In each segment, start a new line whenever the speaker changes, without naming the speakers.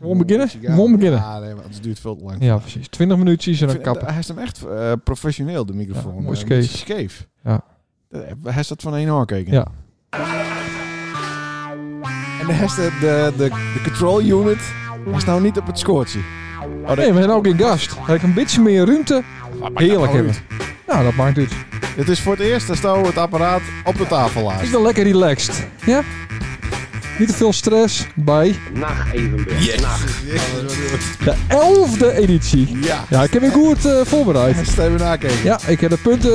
Gewoon beginnen?
Ja,
Gewoon beginnen.
Ja, nee, maar het duurt veel te lang.
Ja, precies. 20 minuutjes
Ik
en dan
vind-
kappen.
Hij is hem echt eh, professioneel, de microfoon.
Ja, mooi
Eh,
scheef.
niet scheef.
Ja.
Eh, Hij is dat van één oor keken.
Ja.
En hij is de, de, de, de control unit hij is nou niet op het scoortje.
nee, we hebben ook geen gast. Heb ik een beetje meer ruimte. Heerlijk
nou
hebben. Nou, dat maakt uit.
Het is voor het eerst dat Stouw het apparaat op de tafel laat.
Ik ben lekker relaxed. Ja? Niet te veel stress bij
Nacht Evenbeeld. Nacht.
de 11e editie.
Ja.
Ja, ik heb weer goed eh,
Hij
voorbereid.
is even nakeken.
Ja, ik heb de, punten,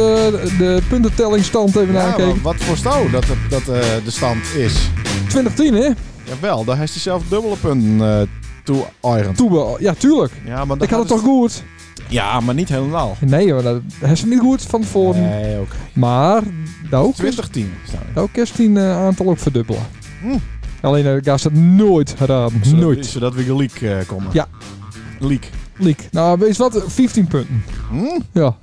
de puntentellingstand
Ja,
even
maar
nakeken.
wat voor Stouw dat, de- dat eh, de stand is.
2010, hè?
Jawel, daar heeft hij zelf dubbele punten eh toe eigend.
Toebe. Ja, tuurlijk.
Ja, maar dat
Ik had het
is-
toch goed?
Ja, maar niet helemaal.
Nee, hoor, dat is niet goed van tevoren.
Nee, ook.
Maar, nou,
2010 staan we.
nou kerst die eh, aantal ook verdubbelen.
Hm.
Alleen de gast het nooit raden.
Zodat-
Nooit.
Zodat we geliek eh, komen.
Ja.
Geliek.
Leak. Nou, weet je wat? 15 punten.
Hm?
Ja.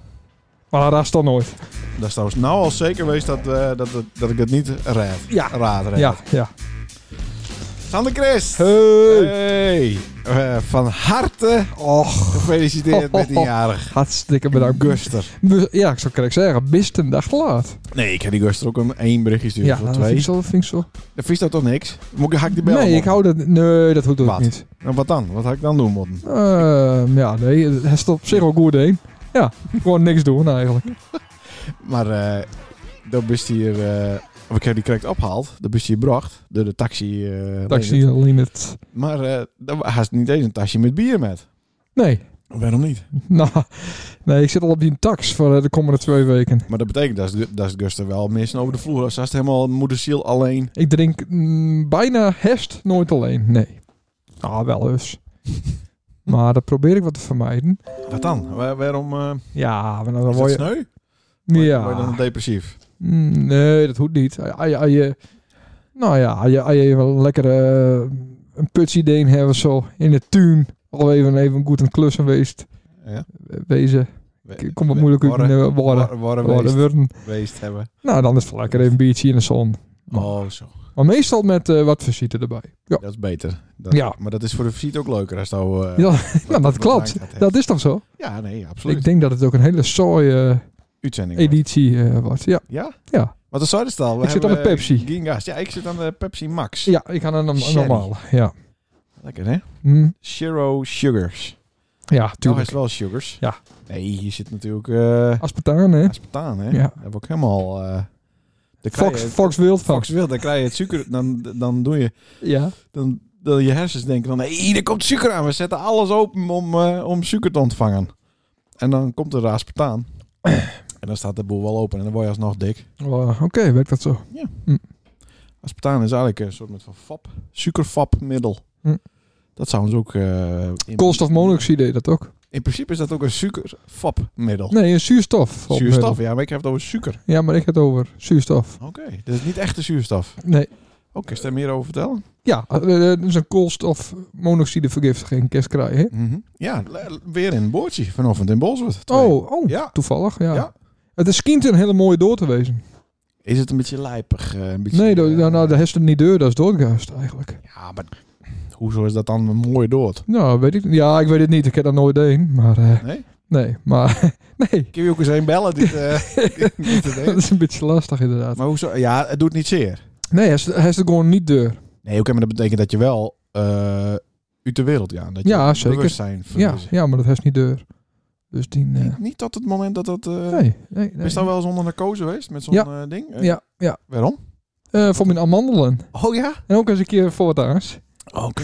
Maar dat is dan nooit.
Dat is trouwens nou al zeker geweest dat, eh, dat, dat, dat ik het niet raad.
Ja.
Raad, raad.
Ja, ja.
Sander Christ.
Hey.
Hey. Eh, van harte
Och,
gefeliciteerd met die jarig.
hartstikke bedankt.
Guster.
Bu- Ja, ik zou correct zeggen. Bist een dag te laat.
Nee, ik heb die Guster ook een één berichtje sturen.
Ja,
voor
dat vind
twee.
ik zo. Vind ik zo.
Dan vies dat toch niks? Moet ik, hak die bel
Nee, ik hou dat... Nee, dat hoeft ook
Wat?
niet.
En wat dan? Wat had ik dan doen, moeten?
Ehm, ja, nee. Het is op zich wel goed heen. Ja, gewoon niks doen eigenlijk.
Maar eh dat bus hier... eh, of ik heb die correct opgehaald. Dat bus hier bracht. Door de taxi. eh,
Taxi alleen het...
Maar eh daar haast niet eens een tasje met bier met.
Nee.
Waarom niet?
Nou, nee, ik zit al op die tax voor eh, de komende twee weken.
Maar dat betekent dat, ze- dat Guster wel missen over de vloer. Ze is helemaal moederziel alleen.
Ik drink mm, bijna hest nooit alleen. Nee. Ah, wel eens. maar dat probeer ik wat te vermijden.
Wat dan? Waar- waarom eh
Ja, maar dan
is
word
dat
je...
sneu?
ja.
Word je dan depressief?
Mm, Nee, dat hoeft niet. Als je, als je, nou ja, als je, als je wel een lekkere eh, een putsidee hebt of zo in de tuin. Al even, even goed een klus geweest.
Ja.
Wezen. Ik kom wat moeilijk uit
worden,
mijn eh, woorden.
worden, worden,
Woorden,
weest-
woorden.
weest hebben.
Nou, dan is het wel lekker even een biertje in de zon.
Oh, zo.
Maar meestal met eh, wat visite erbij. Ja,
Dat is beter. Dat-
Ja.
Maar dat is voor de visite ook leuker als nou... eh,
Ja,
wat-
nou, dat
wat
klopt.
Reinhard heeft.
Dat is toch zo?
Ja, nee, absoluut.
Ik denk dat het ook een hele saaie
Uitzending.
editie eh, wordt. Ja,
Ja?
Ja.
Wat is dat al?
Ik zit aan de Pepsi.
eh, Gingas. Ja, ik zit aan de Pepsi Max.
ja ik ga naar een
Sherry.
normaal. Ja.
Lekker, hè?
Hm,
Shiro Sugars.
ja,
Nou, hij
tuurlijk.
is wel sugars.
Ja.
Nee, hier zit natuurlijk eh
Aspartaan, hè?
aspartaan, hè?
Ja.
Dat heb ik helemaal... eh de
Fox, Fox Wildfox.
wil, dan krijg je het suiker... Dan, dan doe je...
Ja.
Dan, dan je hersens denken dan... Hé, er komt suiker aan. We zetten alles open om, eh, om suiker te ontvangen. En dan komt er aspartaan. en dan staat de boel wel open. En dan word je alsnog dik.
Oh, Oké, werkt dat zo?
Aspartaan is eigenlijk een soort met van fap. Suikerfapmiddel.
Hm.
Dat zouden ze ook... eh in,
Koolstofmonoxide deed dat ook.
in principe is dat ook een suikerfapmiddel.
Nee, een zuurstof. eh,
Zuurstof, Oh. ja, maar ik heb het over suiker.
Ja, maar ik heb het over zuurstof.
Oké, dit is niet echte zuurstof.
Nee.
Oké, kun je daar meer over vertellen?
Ja, eh, eh, dat is een koolstofmonoxidevergiftiging. Kerst krijgen.
Ja, le- weer in een boordje vanochtend in Bolsward. Twee.
Oh, oh
Ja.
toevallig. Ja.
Ja.
Het is schijnt een hele mooie door te wezen.
Is het een beetje lijpig? eh, Een beetje,
Nee, dat-
eh,
nou, nou, de hest niet deur, dat is doodgast eigenlijk.
Ja, maar hoezo is dat dan een mooi dood?
Nou, weet ik niet. Ja, ik weet het niet. Ik heb dat nooit een. Maar eh,
Nee?
nee, maar nee.
Ik heb je ook eens een bellen dit, eh, dit te
Dat
delen.
is een beetje lastig inderdaad.
Maar hoezo? Ja, het doet niet zeer.
Nee, hij is, hij is er gewoon niet deur.
Nee, oké, maar dat betekent dat je wel eh uit de wereld gaat. Dat je
Ja, zeker.
bewustzijn
Ja,
verliezen.
ja, maar dat is niet deur. Dus die... eh,
Niet, niet tot het moment dat dat... eh
nee, nee, nee.
Is dat wel eens onder narcose geweest met zo'n
Ja.
eh, ding? Eh,
Ja, ja.
Waarom?
Eh, voor mijn amandelen.
Oh ja?
En ook eens een keer voor het aars.
Oké.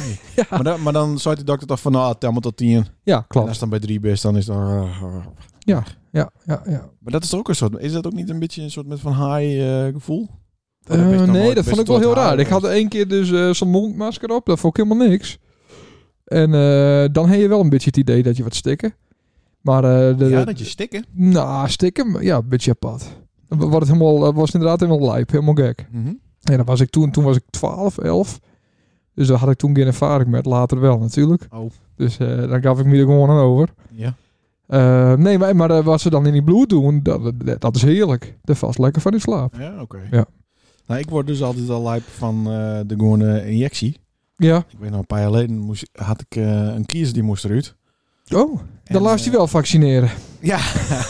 Maar, dan, maar dan zei die dokter toch van, nou, tel maar tot tien. En
Ja,
als
klopt.
het dan bij drie best, dan is het... eh,
Ja, ja, ja.
Maar dat is toch ook een soort... Is dat ook niet een beetje een soort met van high eh, gevoel? Oh,
Eh,
dat is nog
nee,
nooit-
dat
best
vond ik wel heel
nooit
raar. Ik
gehouden.
had één keer dus eh, zo'n mondmasker op. Dat vond ik helemaal niks. En eh, dan heb je wel een beetje het idee dat je wat stikken. Maar eh, de,
Ja, dat je stikken.
Nou, stikken, maar ja, een beetje apart. Dan wordt het helemaal, eh, was het inderdaad helemaal lijp, helemaal gek.
Mhm.
En dan was ik toen, toen was ik 12, 11. Dus daar had ik toen geen ervaring met, later wel natuurlijk.
Oh.
Dus eh daar gaf ik me er gewoon aan over.
Ja.
Eh, nee, maar, maar eh, wat ze dan in die bloed doen, dat, dat, dat is heerlijk. Daar vast lekker van in slaap.
Ja, oké.
Ja.
Nou, ik word dus altijd al lijp van eh, de gewone injectie.
Ja.
Ik weet nog, een paar jaar geleden moest, had ik eh, een kies die moest eruit.
Oh,
En,
dan laat je
eh,
wel vaccineren.
ja,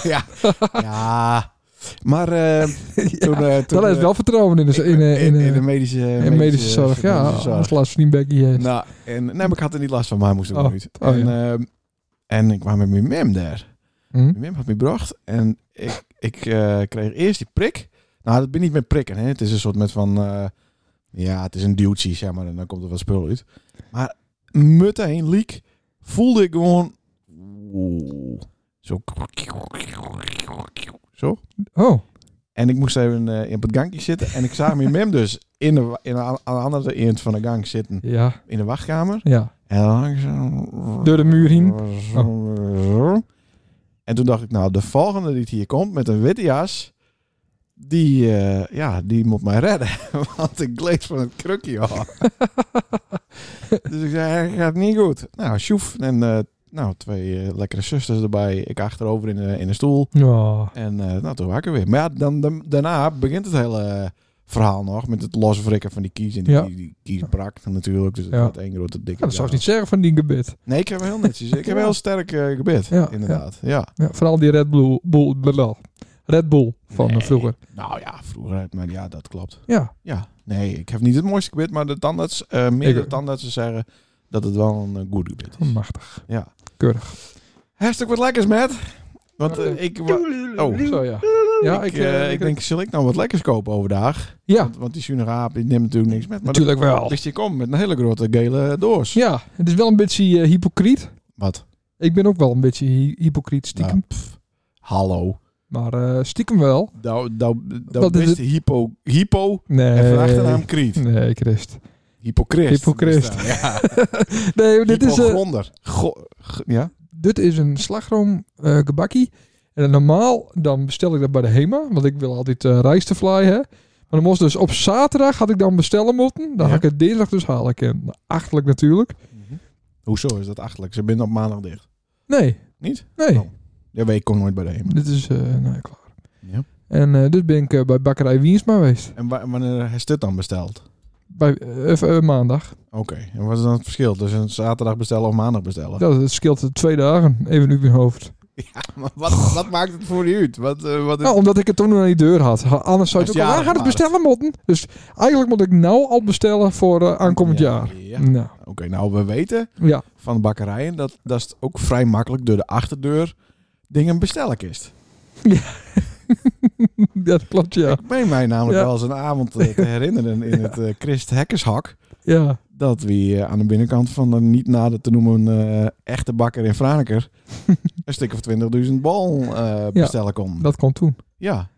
ja. Maar eh, toen, eh, toen,
Dat is
eh,
wel vertrouwen in de,
ik-
in, eh, in, eh,
de medische,
in medische zorg. Ja,
medische zorg.
anders laat ze niet bekkie heeft.
Nou, en, nee, maar ik had er niet last van, maar moest ik nog
Oh,
niet.
oh,
en,
ja.
ehm, en ik kwam met mijn mem daar.
Hm?
Mijn mem had me gebracht en ik, ik eh, kreeg eerst die prik. Nou, dat ben niet met prikken, hè. Het is een soort met van... eh, ja, het is een duwtje, zeg maar, en dan komt er wat spul uit. Maar meteen, liek, voelde ik gewoon... Oeh, zo... Zo.
Oh,
En ik moest even eh, op het gangje zitten. En ik zag mijn mem dus in de, wa- in de, aan de andere eind van de gang zitten.
ja.
In de wachtkamer.
ja.
En langzaam...
Door de muur heen.
En toen dacht ik, nou, de volgende die hier komt met een witte jas... Die, eh, ja, die moet mij redden. Want ik gleed van het krukje af. dus ik zei, het gaat niet goed. Nou, sjoef. En eh, nou, twee eh, lekkere zusters erbij. Ik achterover in de, in de stoel.
Oh.
En eh, nou, toen wakker weer. Maar ja, dan, dan- daarna begint het hele eh, verhaal nog. Met het loswrikken van die kies. En die,
Ja.
die, die kies brak natuurlijk. Dus het
Ja.
wordt één grote dikke
Ja, dat zou ik
zaal.
niet zeggen van die gebit.
Nee, ik heb wel heel netjes. Ik heb een heel sterk eh, gebit,
Ja,
inderdaad. Ja.
Ja, vooral die Red Bull, Bull, blablabla. Red Bull van eh,
Nee.
vroeger.
Nou ja, vroeger uit, maar ja, dat klopt.
Ja,
Ja, nee, ik heb niet het mooiste gebit, maar de tandarts, eh meerdere
ook. Hmm.
tandartsen zeggen dat het wel een eh, goed gebit is.
machtig.
Ja.
Keurig.
Hartstikke wat lekkers, Matt. Want eh,
Ja.
ik... wa- Oh,
Zo ja. Ja,
ik,
ik,
eh,
eh,
ik denk, zal ik nou wat lekkers kopen overdag?
Ja,
Want, want die zunige aap, die neemt natuurlijk niks met. Maar
natuurlijk wel.
Dus je komt met een hele grote gele doos.
Ja, het is wel een beetje eh, hypocriet.
Wat?
Ik ben ook wel een beetje hy- hypocriet stiekem.
Nou, pff, hallo.
Maar eh, stiekem wel.
Dat nou,
Wat is
is de hypo, hypo
Nee.
en van achternaam Kriet.
Nee, Christ.
Hypocrist.
Hypocrist.
Dus, eh, Ja.
Nee, dit
Dit
is, eh,
ja.
dit is een slagroom eh gebakkie. En normaal dan bestel ik dat bij de Hema. Want ik wil altijd eh rijstefly hè. Maar dan moest dus op zaterdag had ik dan bestellen moeten. Dan
Ja.
had ik het dinsdag dus halen kunnen. Nou, Achterlijk natuurlijk.
Mhm. Hoezo is dat achterlijk? Ze binnen op maandag dicht.
Nee.
Niet?
Nee.
Oh. Ja, weet ik kom nooit bij de hemel.
Dit is, eh nou, klaar.
Ja.
En eh dus ben ik eh, bij Bakkerij Wiensma geweest.
En wa- wanneer is dit dan besteld?
Bij, eh, eh, eh, maandag.
Oké. En wat is dan het verschil tussen zaterdag bestellen of maandag bestellen?
Ja, dat scheelt eh, twee dagen. Even uit mijn hoofd.
maar wat, wat maakt het voor u uit? Wat, eh, wat is...
Nou, omdat ik het toen nog aan die deur had. Ha- Anders zou ik
Als
ook al
je
aan gaan het
jarig
bestellen moeten. Dus eigenlijk moet ik nou al bestellen voor eh, aankomend
Ja,
jaar.
ja.
Nou,
Oké, nou we weten
ja.
van de bakkerijen dat, dat is ook vrij makkelijk door de achterdeur dingen bestellen kist.
dat klopt, ja.
Ik meen mij namelijk
Ja.
wel eens een avond eh, te herinneren in het eh, Christ Hekkershak.
Ja,
dat we eh, aan de binnenkant van een niet nader te noemen eh, echte bakker in Franeker een stuk of 20.000 bal eh, bestellen kon.
dat komt toen. eh,
ja.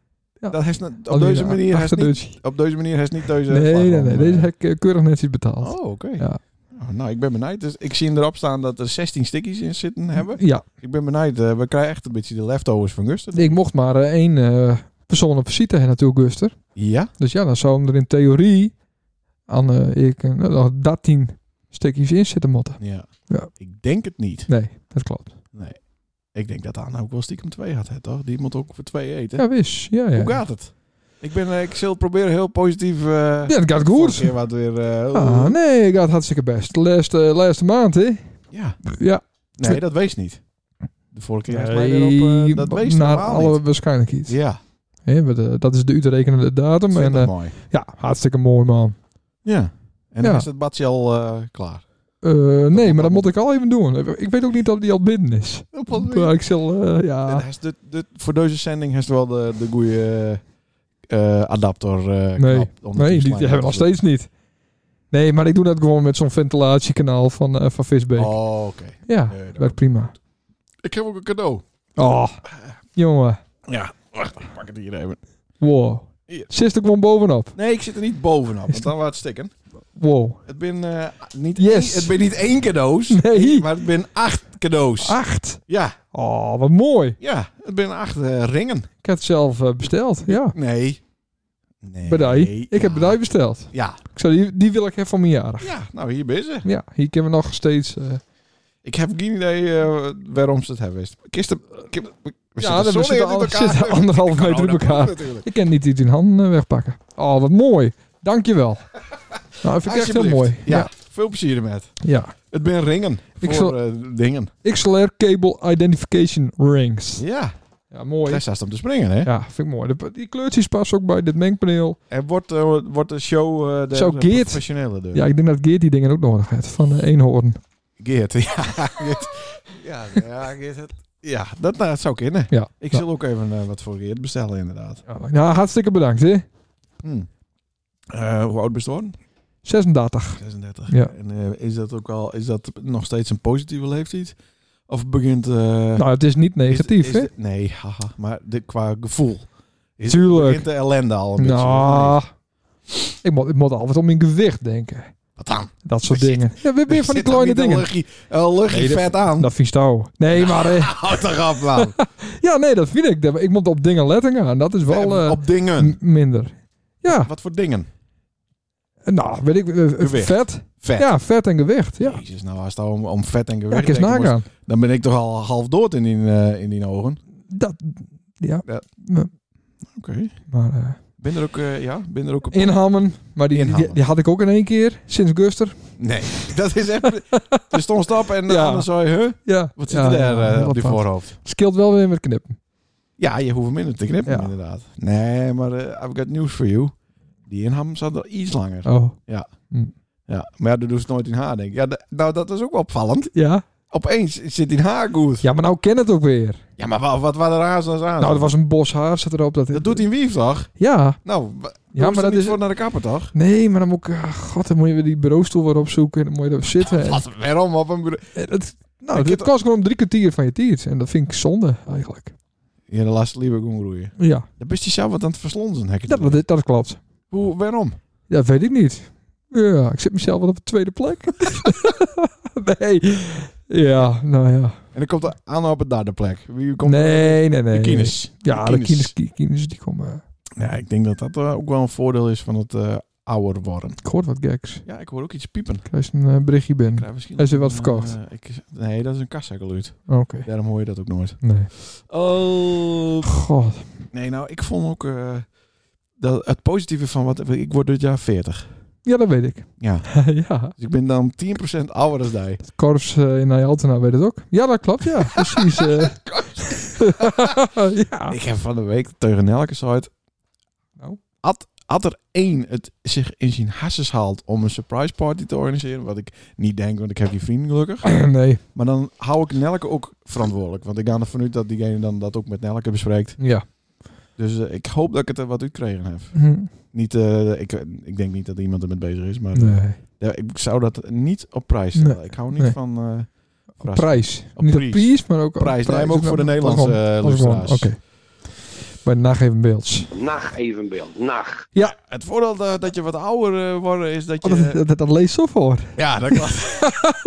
Ja.
Dat heeft, net- op, deze manier heeft niet,
Achterdeurtje.
op deze manier heeft niet deze
Nee, nee, nee.
platform,
Deze
eh,
heb ik eh, keurig netjes betaald.
Oh, oké.
Ja.
Oh, nou, ik ben benieuwd. Dus ik zie erop staan dat er 16 stickies in zitten hebben.
Ja,
Ik ben benieuwd. eh, we krijgen echt een beetje de leftovers van Guster.
ik mocht maar eh, één eh, persoon op visite hebben natuurlijk, Guster.
Ja.
Dus ja, dan zou hem er in theorie aan eh, ik, eh, nog 13 stukjes in zitten motten.
ja.
Ja.
Ik denk het niet.
Nee, dat klopt.
Nee. Ik denk dat Anna ook wel stiekem twee had, hè, toch? Die moet ook voor twee eten.
Ja, wist. Ja, ja.
Hoe gaat het? Ik, ben, eh, ik zal proberen heel positief... eh,
Ja, het gaat
Vorige
goed.
keer wat weer. eh,
Ah, nee, het gaat hartstikke best. Laatste, eh, laatste maand, hè?
Ja.
Ja.
Nee, dat wees niet. De vorige keer nee,
Nee,
weer op, eh, dat wees
naar
normaal
alle
niet.
waarschijnlijkheid.
Ja,
Hè, want, eh, dat is de uitrekenende
dat
datum.
vind
En,
ik
eh,
mooi.
ja, hartstikke mooi, man.
Ja. En dan
ja.
is het badje al eh, klaar.
Eh, nee,
moet-
maar dat moet ik al even doen. Ik weet ook niet dat die al binnen is. Maar ik zal, eh,
En
ja.
hij is de, de, voor deze zending heeft wel de, de goede eh, adapter. eh,
Nee.
knap om
Nee,
te
die
slaan.
hebben we nog steeds niet. Nee, maar ik doe dat gewoon met zo'n ventilatiekanaal van, eh, van Visbeek.
Oh, oké.
Ja,
Nee, dat-
werkt prima.
Ik heb ook een cadeau.
Oh, jongen.
Ja, wacht, ik pak het hier even.
Wow.
Hier.
Zit er gewoon bovenop.
Nee, ik zit er niet bovenop,
Is
want dan was het stikken.
Wow.
Het ben, eh, niet,
Yes.
één- het ben niet één cadeaus,
Nee.
maar het ben acht cadeaus.
Acht.
Ja.
Oh, wat mooi.
Ja, het ben acht eh, ringen.
Ik heb het zelf eh, besteld. Ja.
Nee. Nee.
Bedij.
Ja.
Ik heb bedij besteld.
Ja.
Ik zei, die, die wil ik hebben voor mijn jarig.
ja, nou hier ben ze.
Ja, hier kunnen we nog steeds... eh,
Ik heb geen idee eh, waarom ze het hebben. Kisten, kip- we
ja,
zitten
we
zo
zitten,
dicht
al,
in elkaar.
zitten anderhalf meter uit
Corona
elkaar.
natuurlijk.
Ik kan niet iets in handen eh, wegpakken. Oh, wat mooi. Dankjewel. Nou, dat vind ik echt heel
Alsjeblieft.
mooi.
Ja,
Ja.
Veel plezier ermet.
Ja.
Het ben ringen. voor
Ik zal-
eh, dingen.
XLR Cable Identification Rings.
Ja,
Ja, mooi.
daar staat ze om te springen, hè?
Ja, vind ik mooi. De- Die kleurtjes passen ook bij dit mengpaneel.
En wordt, eh, wordt de show eh, de,
Zo,
de
Geert.
professionele dus.
Ja, ik denk dat Geert die dingen ook nodig heeft. Van eh, Eenhoorn.
Geert, ja. Geert. Ja, ja, Geert, het- ja, dat nou, het zou kunnen.
Ja.
Ik
Ja.
zal ook even eh, wat voor Geert bestellen, inderdaad.
Ja, nou, hartstikke bedankt, hè.
Hm. Eh, hoe oud bestaan?
36.
36.
Ja.
En eh, is dat ook al, is dat nog steeds een positieve leeftijd? Of begint... eh,
Nou, het is niet
is de-
negatief,
is
hè.
de- nee, haha, maar de, qua gevoel. Is,
Tuurlijk.
Begint de ellende al een beetje? of
Nou, ik moet, ik moet altijd om mijn gewicht denken.
niet? Wat dan?
Dat soort
Daar
dingen. Ja, weer, weer van die
Zit er
kleine
niet een
dingen.
luchtje- Een luchtje
Nee, dat-
vet aan.
Dat vies touw. Nee,
Nou.
maar... eh,
Houd erop, man.
ja, nee, dat vind ik. Dat- Ik moet op dingen letten gaan. Dat is wel eh,
Op dingen.
m- minder. Ja,
Wat voor dingen?
nou, weet ik... eh,
Gewicht.
vet.
Vet.
Ja, vet en gewicht. Ja,
Jezus, nou als het om, om vet en
ja
gewicht
ik eens
denken moest,
nagaan.
dan ben ik toch al half dood in die, eh, in die ogen.
Dat... Ja.
Ja. Oké.
Maar... eh,
Ben er ook, eh, ja, ben er ook op...
Inhammen. Maar die,
Inhammen.
Die, die had ik ook in één keer. Sinds Guster.
Nee, dat is echt... er stond een stap en
Ja.
dan zei je, huh?
Ja.
Wat zit
Ja,
er daar
ja,
eh,
heel
op die
apart.
voorhoofd?
Scheelt wel weer met knippen.
Ja, je hoeft hem minder te knippen,
Ja.
inderdaad. Nee, maar eh I've got news for you. Die inham zat al iets langer.
Oh.
Ja, maar ja, dat doet ze nooit in haar, denk ik. Ja, d- nou, dat is ook wel opvallend.
Ja?
Opeens zit in haar goed.
Ja, maar nou ken het ook weer.
Ja, maar wat, wat waren er aan? aan?
Nou, er was een bos haar zit erop. Dat,
Oh. Dat doet hij in Wief, toch?
Ja.
Nou, wa-
Ja, maar dat is...
voor naar de kapper, toch?
Nee, maar dan moet ik... ah, God, dan moet je weer die bureaustoel weer opzoeken. En dan moet je erop zitten. En,
Wat, waarom op een... bureau-
en het, nou,
Ik
dit
heb-
kost gewoon drie kwartier van je tiert. En dat vind ik zonde, eigenlijk.
Ja, de laatste liever gewoon roeien.
Ja.
Dan ben je zelf wat aan het verslonzen, hek.
Dat, dat, dat klopt.
Hoe, waarom?
Dat weet ik niet. Ja, ik zit mezelf wel op de tweede plek. nee. Ja, nou ja.
En dan komt er aan op het derde plek. Wie komt
Nee, nee,
De
nee.
kines.
Ja, de
Kines.
kines, ki- kines die komen...
Ja, ik denk dat dat eh, ook wel een voordeel is van het eh ouder worden.
Ik hoor wat geks. Ik
Ja, ik hoor ook iets piepen. Ik
krijg een eh, berichtje binnen.
krijg misschien
Is er
nog
wat
een,
verkocht?
eh, ik, nee, dat is een kassageluid.
Oké.
Daarom hoor je dat ook nooit.
Nee.
Oh.
God.
Nee, nou, ik vond ook eh, dat het positieve van wat... Ik word dit jaar 40.
Ja, dat weet ik.
Ja.
ja.
Dus ik ben dan 10% ouder dan jij.
Het korps eh, in Nijaltena weet het ook. Ja, dat klopt. Ja, precies. eh. ja.
Ik heb van de week tegen Nelke gezegd...
Nou.
Had, had er één het zich in zijn hasses haalt om een surprise party te organiseren... wat ik niet denk, want ik heb die vrienden gelukkig...
nee.
maar dan hou ik Nelke ook verantwoordelijk. Want ik ga ervan uit dat diegene dan dat ook met Nelke bespreekt.
Ja.
Dus eh, ik hoop dat ik het er wat uitkregen heb.
Hm.
Niet, eh, ik, ik denk niet dat iemand ermee bezig is, maar... eh,
Nee.
Ja, ik zou dat niet op prijs stellen.
Nee.
Ik hou niet
Nee.
van... eh,
Op
Prijs.
prijs.
Op
Niet op
prijs.
prijs, maar ook op
prijs. Nee, maar ook voor de
Dat
Nederlandse
gewoon-
eh,
dat is gewoon-
luisteraars.
Oké. Bij de nageven beelds.
Nacht evenbeeld. Nacht.
Het voordeel dat, dat je wat ouder eh, wordt is dat je...
Oh, dat, dat, dat leest zo voor.
ja, dat, klopt.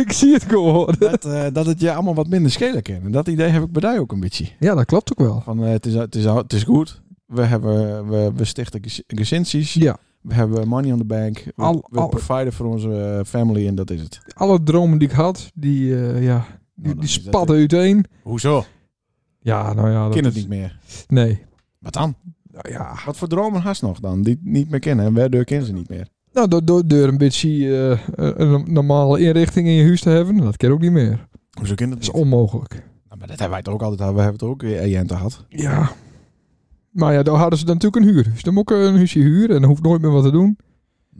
ik zie het gewoon.
dat, eh, dat het je allemaal wat minder schelen kan. En dat idee heb ik bij jou ook een beetje.
Ja, dat klopt ook wel.
Van, eh, het, is, het, is, het is goed. We, hebben, we, we stichten gez- gezinsies.
Ja.
We hebben money on the bank. We,
Al-
we
al-
providen voor onze eh, family en dat is het.
Alle dromen die ik had, die, eh, ja, die,
Oh, dan
die
is dat
spatten uiteen.
Hoezo?
Ja, nou ja. Dat
Ken het
is-
niet meer.
Nee.
Wat dan?
Nou ja.
Wat voor dromen haast nog dan? Die het niet meer kennen. En waardoor kennen ze niet meer.
Nou, door, door, door een beetje eh, een normale inrichting in je huis te hebben, dat kan ook niet meer.
Hoezo kennen
Dat is onmogelijk.
Nou, maar dat hebben wij toch ook altijd. We hebben het ook eh, Jente gehad.
Ja. Maar ja, dan hadden ze dan natuurlijk een huurhuis. Dan moet ik een huisje huren en dan hoeft nooit meer wat te doen.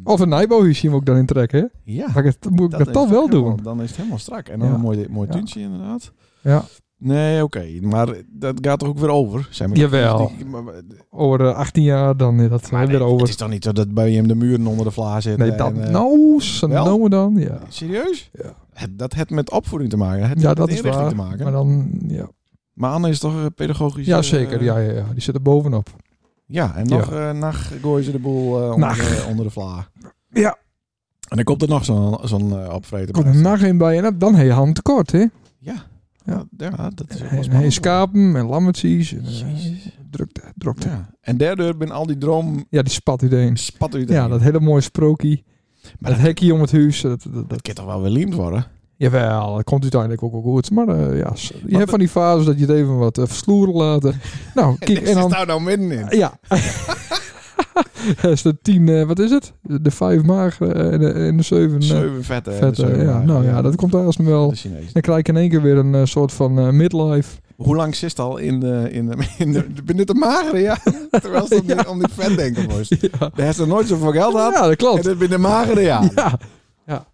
Of een nijbouwhuisje moet ik dan in trekken, hè?
Ja.
Maar ik- Dan moet ik dat,
is
toch wel
helemaal-
doen.
Dan is het helemaal strak. En dan
Ja.
een mooi, mooi
Ja.
tuintje inderdaad.
Ja.
Nee, oké. Maar dat gaat toch ook weer over? Zijn we
Jawel.
Dus die- maar- maar-
Over eh, 18 jaar dan eh, dat
maar
weer
nee, Het
over.
is toch niet zo dat bij hem de muren onder de vla zitten?
Nee, dat
en, eh,
nou, ze
wel?
noemen dan. Ja,
Serieus?
Ja.
Het- Dat heeft met opvoeding te maken. Het
ja
heeft
dat
met
is
inrichting
waar.
te maken.
Maar dan, ja.
Maar Anne is toch eh, pedagogisch...
ja
eh,
zeker. Ja, ja, ja, die zitten bovenop.
Ja, en
Ja.
nog eh nacht gooien ze de boel eh, onder,
Nacht.
de, onder de vla.
Ja.
En dan komt er nog zo'n zo'n eh opvreten
Komt
bij.
er nacht in bij en dat- dan heb je hand tekort, hè?
Ja.
Ja.
Ja, ja, dat is
En, en schapen en lammetjes. En, eh,
Jezus.
drukte, drukte.
Ja. En daardoor ben al die droom
Ja, die spat uiteen.
spat u
Ja, dat hele mooie sprookje.
Maar
Maar dat hekje om het huis. Dat, dat, dat-
dat kan toch wel weer liemd worden?
jawel, dat komt uiteindelijk ook wel goed. Maar eh, ja, s- je hebt
dat-
van die fases dat je het even wat eh, versloeren laten. Nou, kijk, en dan...
daar nou midden in.
Ja. Er staan tien, eh, wat is het? De vijf magere eh, en de, en de zeven, eh,
Zeven vette.
vette.
zeven
ja.
lagen.
Nou ja, dat komt daar wel.
De Chinees.
Dan krijg ik in één keer weer een eh, soort van eh, midlife.
Hoe lang zit het al in de, in de, in de, binnen de magere, ja? Terwijl ze om die, om die vet denken moest.
Ja,
Daar heeft ze nooit zoveel geld gehad.
ja dat
En
klopt.
dit binnen de magere, ja.
Ja. ja.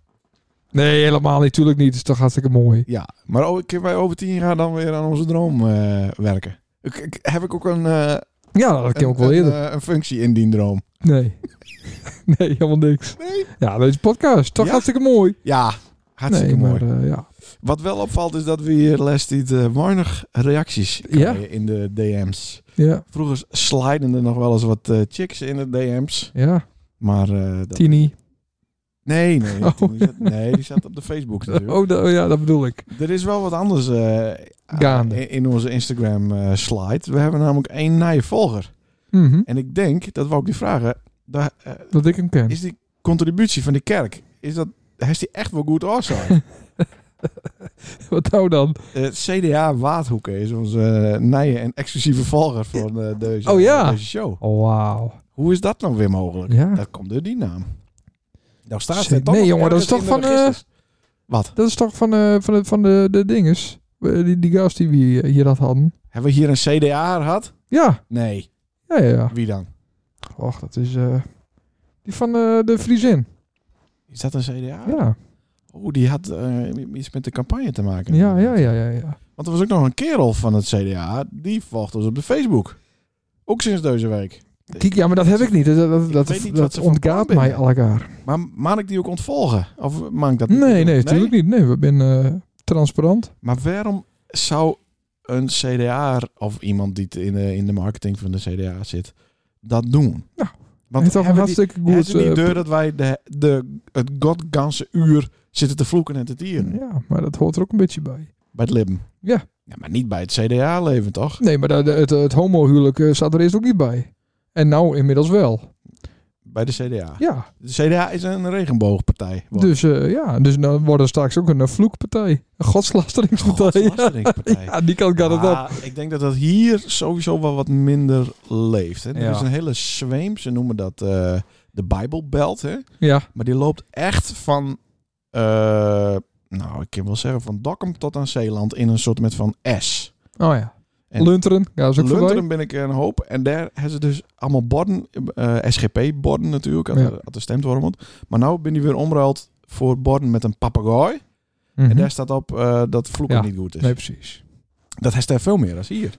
Nee, helemaal niet. Tuurlijk niet. Het is toch hartstikke mooi.
Ja, maar ook kunnen wij over tien jaar dan weer aan onze droom eh, werken? Ik, ik- heb ik ook een, eh,
Ja, dat
een,
ken ik wel
een,
eerder.
eh, een functie in die droom?
Nee. nee, helemaal niks.
Nee.
Ja, deze podcast. Toch
Ja?
hartstikke mooi.
Ja, hartstikke
nee,
mooi.
maar eh, ja.
Wat wel opvalt is dat we hier les die weinig reacties krijgen in de DM's.
Ja,
Vroeger sliden er nog wel eens wat eh, chicks in de DM's.
ja.
Maar eh, dat-
Tini.
nee, nee,
Oh.
die zat- nee, die zat op de Facebook natuurlijk.
Oh, da- oh ja, dat bedoel ik.
Er is wel wat anders eh,
Gaande.
in, in onze Instagram eh, slide. We hebben namelijk één nieuwe volger.
Mhm.
En ik denk, dat wou ik die vragen, daar, eh,
Dat ik hem ken.
is die contributie van de kerk, is dat, heeft die echt wel goed oorzaak?
Wat nou dan?
Het CDA Waadhoeken is onze eh, nieuwe en exclusieve volger van eh, deze,
Oh ja.
deze show.
Oh, wauw.
Hoe is dat nou weer mogelijk?
Ja.
Dat komt door die naam. Nou staat
Nee,
het toch
jongen,
nog
dat is
ergens
toch
in de
van, eh,
registers. Wat?
Dat is toch van, eh, van, de, van de, de dinges? Eh, Die, die gast die we hier- eh, hier dat hadden.
Hebben we hier een CDA gehad?
Ja,
Nee.
ja, ja. ja.
Wie dan?
Och, dat is... eh, die van eh, de Friesin.
Is dat een CDA?
Ja.
Oh, die had eh, iets met de campagne te maken.
Ja, ja, ja, ja, ja.
Want er was ook nog een kerel van het CDA. Die volgt ons op de Facebook. Ook sinds deze week.
Kijk, ja, maar dat heb ik niet. Dat, dat,
Ik
dat,
weet niet
dat
wat ze van
ontgaat
plan
mij
binnen.
al elkaar.
Maar mag ik die ook ontvolgen? Of mag ik dat niet
Nee,
doen?
nee, natuurlijk niet. Nee, we zijn eh, transparant.
Maar waarom zou een CDA of iemand die in de, in de marketing van de CDA zit, dat doen?
Ja.
Want hebben
Hij heeft toch
die,
hartstikke
hebben
goed...
ze niet
eh,
deur dat wij de, de, het godganse uur zitten te vloeken en te tieren
Ja, maar dat hoort er ook een beetje bij.
bij het Libben?
Ja.
ja. Maar niet bij het CDA-leven, toch?
Nee, maar dat- het, het homohuwelijk eh, zat er eerst ook niet bij. En nou inmiddels wel.
Bij de CDA.
Ja,
De CDA is een regenboogpartij. Wat?
dus, eh, ja, dus dan worden straks ook een eh, vloekpartij. Een godslastering
Godslastering-partij.
Ja, die kant gaat het op.
Ah, ik denk dat dat hier sowieso wel wat minder leeft. Hè? Er
Ja.
is een hele zweem, ze noemen dat eh, de Bijbelbelt. hè?
Ja,
Maar die loopt echt van, eh, nou ik kan wel zeggen, van Dokkum tot aan Zeeland in een soort met van S.
oh ja.
En-
Lunteren, ja, is ook
Lunteren ben ik een hoop. En daar hebben ze dus allemaal borden, eh, SGP-borden natuurlijk, had,
Ja.
er- had er stemd worden moet. Maar nou ben die weer omruild voor borden met een papegaai.
voorbij.
En
Mhm.
daar staat op eh, dat vloeken
Ja.
niet goed is.
Nee, precies.
Dat heeft er veel meer dan hier.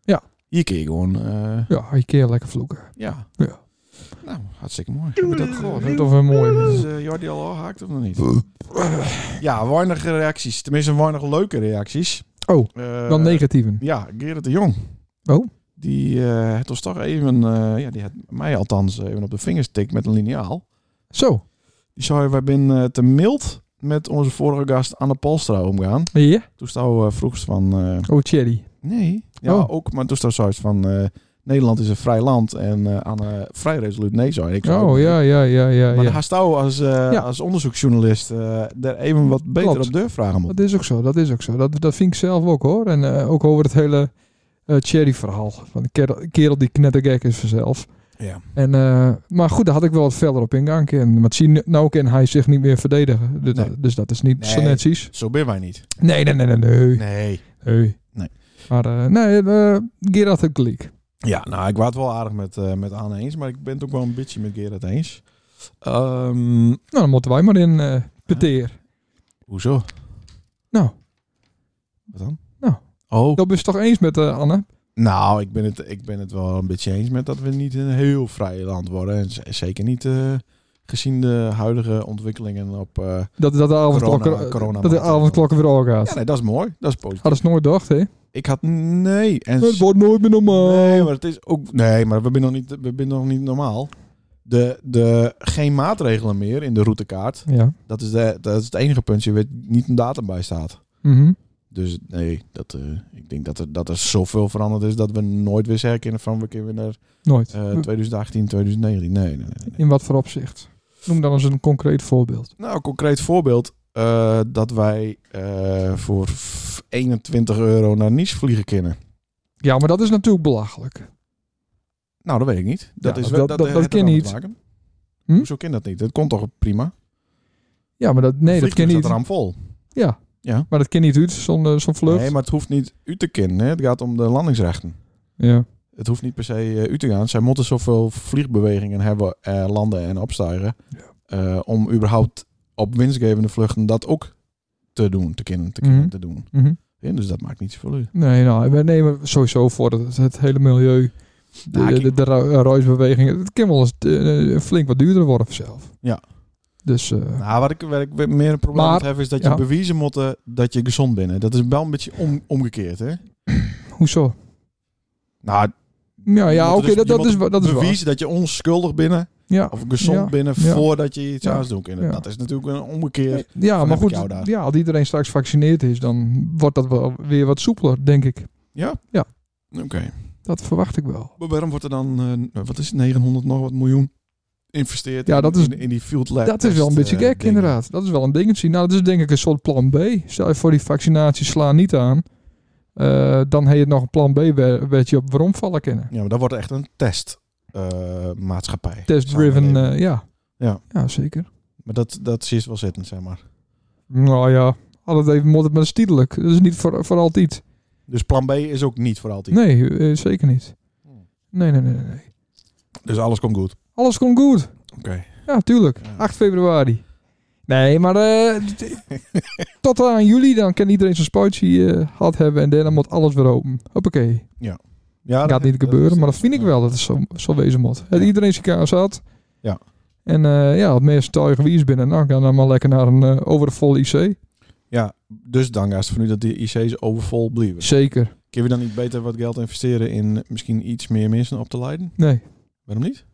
Ja.
Hier kun je gewoon... eh,
Ja, je keer lekker vloeken.
Ja.
Ja.
Nou, hartstikke mooi. Heb je dat gehoord?
Dat is toch wel mooi.
Is eh, Jordi al haakt of nog niet? Ja, weinig reacties. Tenminste, weinig leuke reacties.
Oh,
Eh,
Dan negatieven.
Ja, Gerrit de Jong.
Oh.
Die eh het ons toch even, eh, ja, die had mij althans even op de vingers tikt met een liniaal.
Zo.
Die zei, wij zijn eh, te mild met onze vorige gast Anne Polstra omgaan.
Ja?
Toen stond eh vroegst van, eh,
Oh, Thierry.
nee, ja
Oh.
ook, maar toen stond zoiets van, eh, Nederland is een vrij land en eh, Anne vrij resoluut nee zei. Ik zei, ook
Oh,
nee.
ja, ja, ja, ja.
Maar
ja.
daar haast jou als, eh,
Ja.
als onderzoeksjournalist eh, daar even wat beter
Klopt.
op deur vragen moet.
Dat is ook zo, dat is ook zo. Dat, dat vind ik zelf ook hoor. En eh, ook over het hele eh Cherry-verhaal. Van de kerel, kerel die knettergek is vanzelf.
Ja.
En, eh, maar goed, daar had ik wel wat verder op ingaan kunnen. Maar zie, nou kan hij zich niet meer verdedigen. Dus,
Nee.
dus dat is niet
Nee.
zo netjes.
Zo ben wij niet.
Nee, nee, nee, nee. nee.
Nee.
Nee.
Nee.
Maar eh, nee, eh Gerard heeft gelijk.
Ja, nou, ik was het wel aardig met, eh, met Anne eens, maar ik ben het ook wel een beetje met Gerard eens. Ehm,
Nou, dan moeten wij maar in eh peteer.
hoezo?
Nou,
Wat dan?
Nou.
Oh.
dat is toch eens met eh, Anne?
Nou, ik ben, het, ik ben het wel een beetje eens met dat we niet een heel vrij land worden. En z- zeker niet eh, gezien de huidige ontwikkelingen op... eh,
Dat, dat de avondklokken, eh,
Corona- corona-
dat de avondklokken weer al gaat.
Ja, nee, dat is mooi. Dat is positief.
Hadden ze nooit gedacht, hè?
Ik had... Nee. En
Het wordt nooit meer normaal.
Nee, maar het is ook. Nee, maar we zijn nog niet, we zijn nog niet normaal. De, de, geen maatregelen meer in de routekaart.
Ja.
Dat is, de, dat is het enige puntje waar niet een datum bij staat.
Mhm.
Dus nee, dat, eh, ik denk dat er, dat er zoveel veranderd is dat we nooit weer herkennen van we kunnen weer naar
Nooit.
eh, 2018, 2019. Nee, nee, nee, nee.
In wat voor opzicht? Noem dan eens een concreet voorbeeld.
Nou, een concreet voorbeeld eh, dat wij eh, voor 21 euro naar Nice vliegen kunnen.
Ja, maar dat is natuurlijk belachelijk.
Nou, dat weet ik niet. Dat,
Ja,
is,
dat- dat- dat
heeft er
kan
wel mee
niet.
te maken.
Hm?
Hoezo kan dat niet? Dat komt toch prima?
Ja, maar dat, nee, dat kan niet.
Het raam vol.
Ja.
Ja.
Maar dat kan niet uit, zo'n eh, zo'n vlucht.
Nee, maar het hoeft niet u te kennen. hè. Het gaat om de landingsrechten.
Ja.
Het hoeft niet per se eh, u te gaan. Zij moeten zoveel vliegbewegingen hebben, eh, landen en opstijgen. eh, om überhaupt op winstgevende vluchten dat ook te doen, te kennen, te, kennen,
Mhm.
te doen.
Mhm.
Ja, dus dat maakt niet zoveel uit.
Nee, nou, we nemen sowieso voor dat het hele milieu, de,
Ja,
de,
ik-
de, ru- ruisbewegingen, het kan wel eens eh, flink wat duurder worden vanzelf.
Ja.
Dus eh,
Nou, wat ik, wat ik meer een probleem
Maar-
met heb, is dat je
ja.
bewijzen moet eh, dat je gezond bent. hè. Dat is wel een beetje om, omgekeerd, hè?
hoezo?
Nou,
Ja, ja
moet
oké,
dus-
dat,
je
dat,
moet
is, wa- dat is waar.
bewijzen dat je onschuldig binnen
Ja,
of gezond
Ja.
binnen
Ja.
voordat je iets
Ja.
aan doen kan.
Ja.
Dat is natuurlijk een omgekeerd.
ja
heb
maar
ik
goed,
jou daar.
ja, als iedereen straks gevaccineerd is, dan wordt dat wel weer wat soepeler, denk ik.
Oké.
Dat verwacht ik wel.
Maar waarom wordt er dan, eh, wat is het, 900 nog wat miljoen investeerd
Ja, dat
in,
is-
in, in die field lab?
Dat is wel een
test,
beetje
eh,
gek,
dingen.
inderdaad. Dat is wel een dingetje. Nou, dat is denk ik een soort plan B. Stel je voor die vaccinaties slaan niet aan, eh, dan heb je nog een plan B, waar waar je op waarom vallen kennen.
Ja, maar dat wordt echt een test. eh, maatschappij.
Test-driven,
Samenleving.
eh, ja.
Ja.
Ja, zeker.
Maar dat, dat zie je wel zitten, zeg maar.
Nou ja, altijd even moet het maar stiedelijk. Dat is niet voor, voor altijd.
Dus plan B is ook niet voor altijd.
Nee, eh, zeker niet.
Hmm.
Nee, nee, nee, nee, nee.
Dus alles komt goed.
Alles komt goed.
Oké.
Ja, tuurlijk.
Ja.
8 februari. Nee, maar eh, d- tot aan juli dan kan iedereen zijn spuitje eh gehad hebben en daarna moet alles weer open. Hoppakee.
Ja,
Gaat niet gebeuren,
Ah, is-
maar dat vind ik wel dat het zo, zo wezen moet. Het
Ja.
Iedereen zijn kaas had.
Ja.
En eh, ja, het meeste tuig wie is binnen, dan kan dan maar lekker naar een eh, overvol IC.
Ja, dus dan gaat het van nu dat die IC's overvol blijven.
Zeker.
Kunnen we dan niet beter wat geld investeren in misschien iets meer mensen op te leiden?
Nee.
Waarom niet?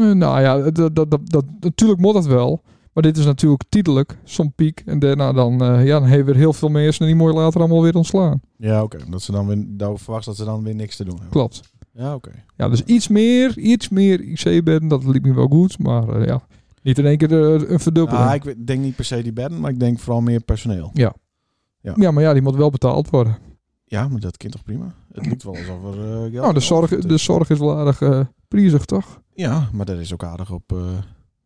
Eh, nou ja, dat, dat, dat, dat, natuurlijk moet dat wel. Maar dit is natuurlijk tijdelijk, zo'n piek. En daarna dan, eh, ja, dan hebben we weer heel veel mensen die mooi later allemaal weer ontslaan.
Ja, oké. Omdat ze dan weer, daar verwacht dat ze dan weer niks te doen hebben.
Klopt.
Ja, oké.
Ja, dus iets meer, iets meer IC-bedden, dat liep me wel goed. Maar eh, ja, niet in één keer eh, een verdubbeling.
Nou, ik weet- denk niet per se die bedden, maar ik denk vooral meer personeel.
Ja, maar ja, die moet wel betaald worden.
Ja, maar dat kind toch prima? Het moet wel alsof er eh, geld...
nou, de zorg,
is.
de zorg is wel aardig eh, prijzig, toch?
Ja, maar daar is ook aardig op eh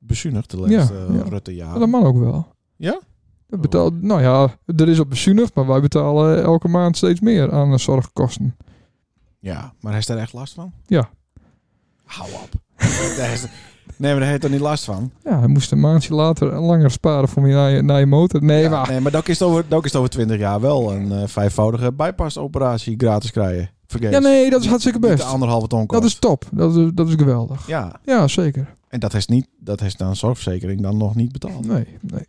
bezuinigd de laatste
Ja,
eh,
ja.
Rutte-jaren.
Maar Oh, dat man ook wel.
Ja? Oh.
Dat betaalt, nou ja, er is op bezuinigd, maar wij betalen elke maand steeds meer aan eh, zorgkosten.
Ja, maar hij is daar echt last van?
Ja.
Hou op. Daar is- nee, maar daar heeft er niet last van.
Ja, hij moest een maandje later langer sparen voor je, naar, je, naar je motor. Nee,
Ja,
maar
nee, maar dat is het over, dat is het over 20 jaar wel een eh, vijfvoudige bypass-operatie gratis krijgen. Vergeet.
Ja, nee, dat is hartstikke
Die
best.
de anderhalve ton kost.
Dat is top. Dat is, dat is geweldig.
Ja,
Ja, zeker.
en dat heeft niet, dat heeft dan zorgverzekering dan nog niet betaald.
Nee, nee.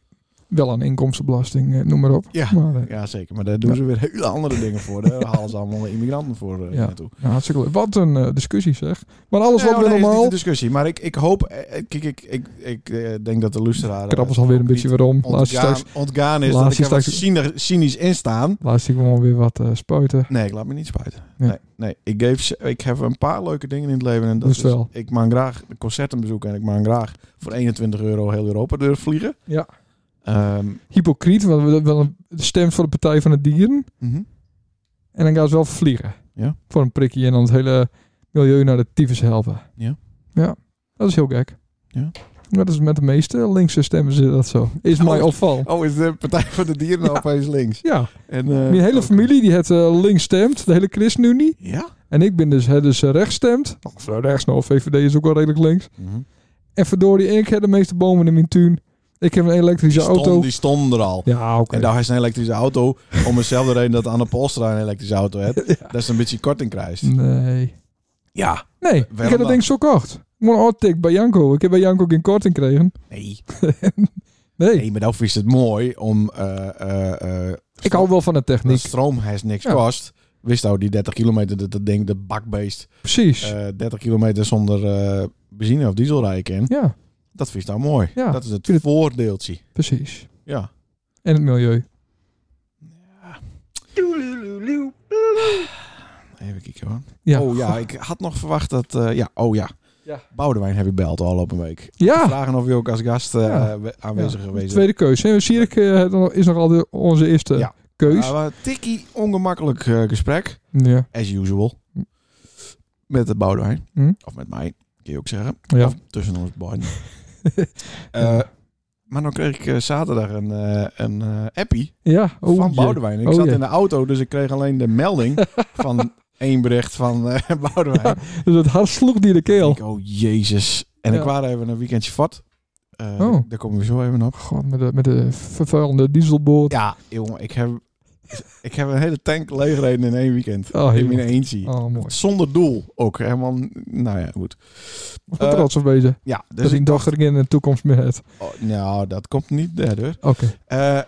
Wel aan inkomstenbelasting, eh, noem maar op.
Ja.
Maar, eh,
Ja, zeker. Maar daar doen
Ja.
ze weer hele andere dingen voor. Daar halen ze allemaal immigranten voor eh,
Ja.
naartoe.
ja, hartstikke leuk. Wat een eh, discussie zeg. Maar alles
Nee,
wat
hoor,
weer
nee, is
normaal.
niet de discussie. Maar ik, ik hoop... eh, Kijk, ik, ik, ik eh, denk dat de luisteraar... eh,
Krabbels alweer een beetje weer om. Laat je
ontgaan,
straks,
ontgaan is
laat
dat ik
je
er wat
straks-
cyni- cynisch in staan.
laat ik gewoon weer wat eh, spuiten.
Nee, ik laat me niet spuiten.
Nee.
Nee, nee, ik, geef, ze- ik heb een paar leuke dingen in het leven. En dat
Moest
is,
wel.
ik maak graag concerten bezoeken. En ik maak graag voor 21 euro heel Europa durf vliegen.
Ja.
Ehm,
Hypocriet, want we- wel een stem voor de Partij van de Dieren.
mhm.
En dan gaan ze wel vliegen.
Ja.
Voor een prikje en dan het hele milieu naar de tyfus helpen.
Ja.
Ja, dat is heel gek.
Ja.
Maar dat is met de meeste linkse stemmen zit dat zo. Is mijn
Oh.
opval.
Oh, is de Partij voor de Dieren nou opeens links?
Ja,
En, eh,
mijn hele
ook-
familie die het eh, links stemt, de hele ChristenUnie.
Ja?
En ik ben dus, hè, dus eh, rechts stemt. Of eh, rechts, nou, VVD is ook wel redelijk links.
Mhm.
En verdorie, ik heb de meeste bomen in mijn tuin. Ik heb een elektrische
Die,
auto.
stond, die stonden er al.
Ja, oké.
En daar is een elektrische auto. Om dezelfde reden dat Anne Polstra een elektrische auto heeft. Dat is een beetje korting
Mm.
krijgt.
Nee.
Ja.
Nee, ik
waarom
heb dat
dan?
ding zo kocht. Gewoon artik bij Janko. Ik heb bij Janko geen korting gekregen.
Nee.
Nee,
nee, maar dan is het mooi om... eh, eh, eh,
ik hou wel van de
Dat
techniek.
stroom heeft niks
Ja.
kost. Wist nou die 30 kilometer dat dat ding, de bakbeest,
Precies.
eh 30 kilometer zonder eh, benzine of diesel rijden kan.
ja,
Dat vind je nou mooi.
Ja.
Dat is het
Tuurlijk.
voordeeltje.
precies.
Ja.
En het milieu.
Even kijken hoor.
Ja.
Oh ja, ik had nog verwacht dat... eh, ja, oh ja.
Ja.
Boudewijn heb je belt al op een week.
Ja,
Vragen of je ook als gast eh,
Ah. Ja.
we- aanwezig
Ja,
geweest bent.
tweede keus. En Sierik eh, is nog altijd onze eerste
Ja.
keus.
Nou, eh, Ja, maar tikkie ongemakkelijk eh, gesprek.
Ja.
As usual. met de Boudewijn.
Hm?
Of met mij, kun je ook zeggen.
Ja.
Of tussen ons beiden. Eh, maar dan kreeg ik eh, zaterdag een, eh, een eh, appie
Ja, oh
van
jee.
Boudewijn. Ik
Oh
zat
jee.
in de auto, dus ik kreeg alleen de melding van één bericht van eh Boudewijn.
Dus het hart sloeg die de keel.
Ik, oh jezus. En
Ja.
ik waren even een weekendje vat. Eh,
Oh.
Daar komen we zo even op.
God, met de, met de vervuilende dieselboot.
Ja, jongen, ik heb, ik heb een hele tank leegreden in één weekend.
Oh,
in mijn
jongen.
eentje.
Oh, mooi.
Zonder doel ook. Helemaal, nou ja, goed.
Wat
Eh,
trots op deze.
Ja, dus
dat die
ik dacht,
dochter in de toekomst meer heeft.
oh, nou, dat komt niet daardoor.
Oké.
Eh,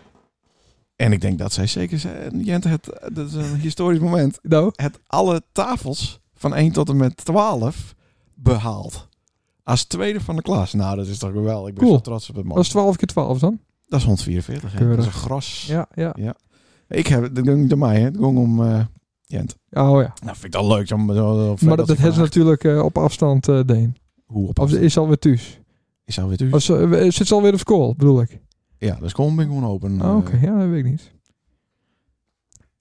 en ik denk dat zij zeker zijn. Jent, het, dat is een historisch moment.
Nou,
Het alle tafels van 1 tot en met 12 behaald. Als tweede van de klas. Nou, dat is toch geweldig. Ik ben
Cool.
zo trots op het man.
dat is 12 keer 12 dan.
Dat is 144. hè. Dat
Keurig.
is een gras.
Ja, ja.
Ik heb het, dat ging niet om mij, hè. het ging om eh, Jent.
Oh ja.
Nou, vind ik dat leuk. Zo, zo, zo-
Maar dat, dat hebben ze
vandaag-
natuurlijk eh, op afstand eh deen.
Hoe op
Of ze is alweer thuis.
Is alweer thuis?
Of ze, eh, zit ze alweer op school, bedoel ik.
Ja, de school ben ik gewoon open.
Oh,
eh.
Oké, ja, dat weet ik niet.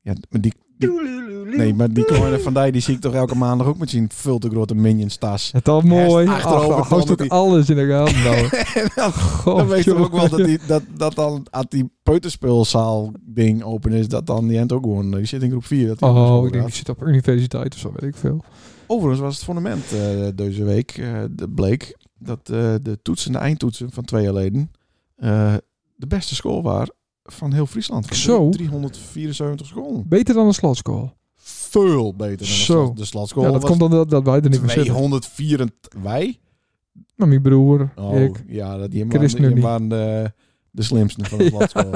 ja, maar die, nee, maar die Corner van Dijk, die zie ik toch elke maandag ook met zijn veel te grote Minions tas.
Het al
mooi.
mooi.
achterover knallen
Ach, houdt ook
die-
alles in de gaten houden.
En dan,
God,
dan weet je
jongen.
ook wel dat, die, dat, dat dan als die peuterspeelzaal ding open is, dat dan die Jent ook gewoon, eh, die zit in groep 4. Dat die op school
Oh, ik denk,
gaat.
ik zit op universiteit of zo, weet ik veel.
Overigens was het fundament eh, deze week, eh, de bleek dat eh, de toetsen, de eindtoetsen van twee jaar geleden, eh, de beste school waren van heel Friesland. Van
Zo.
374 scholen.
Beter dan een slotschool.
Veel beter dan
Zo.
de slat- de slatschool.
ja, dat
was
komt omdat dat wij er niet meer zitten.
224. Wij?
Maar mijn broer,
Oh,
ik.
ja, dat die
Chris
waren, die
Nunny.
waren de, de slimste van de slatschool.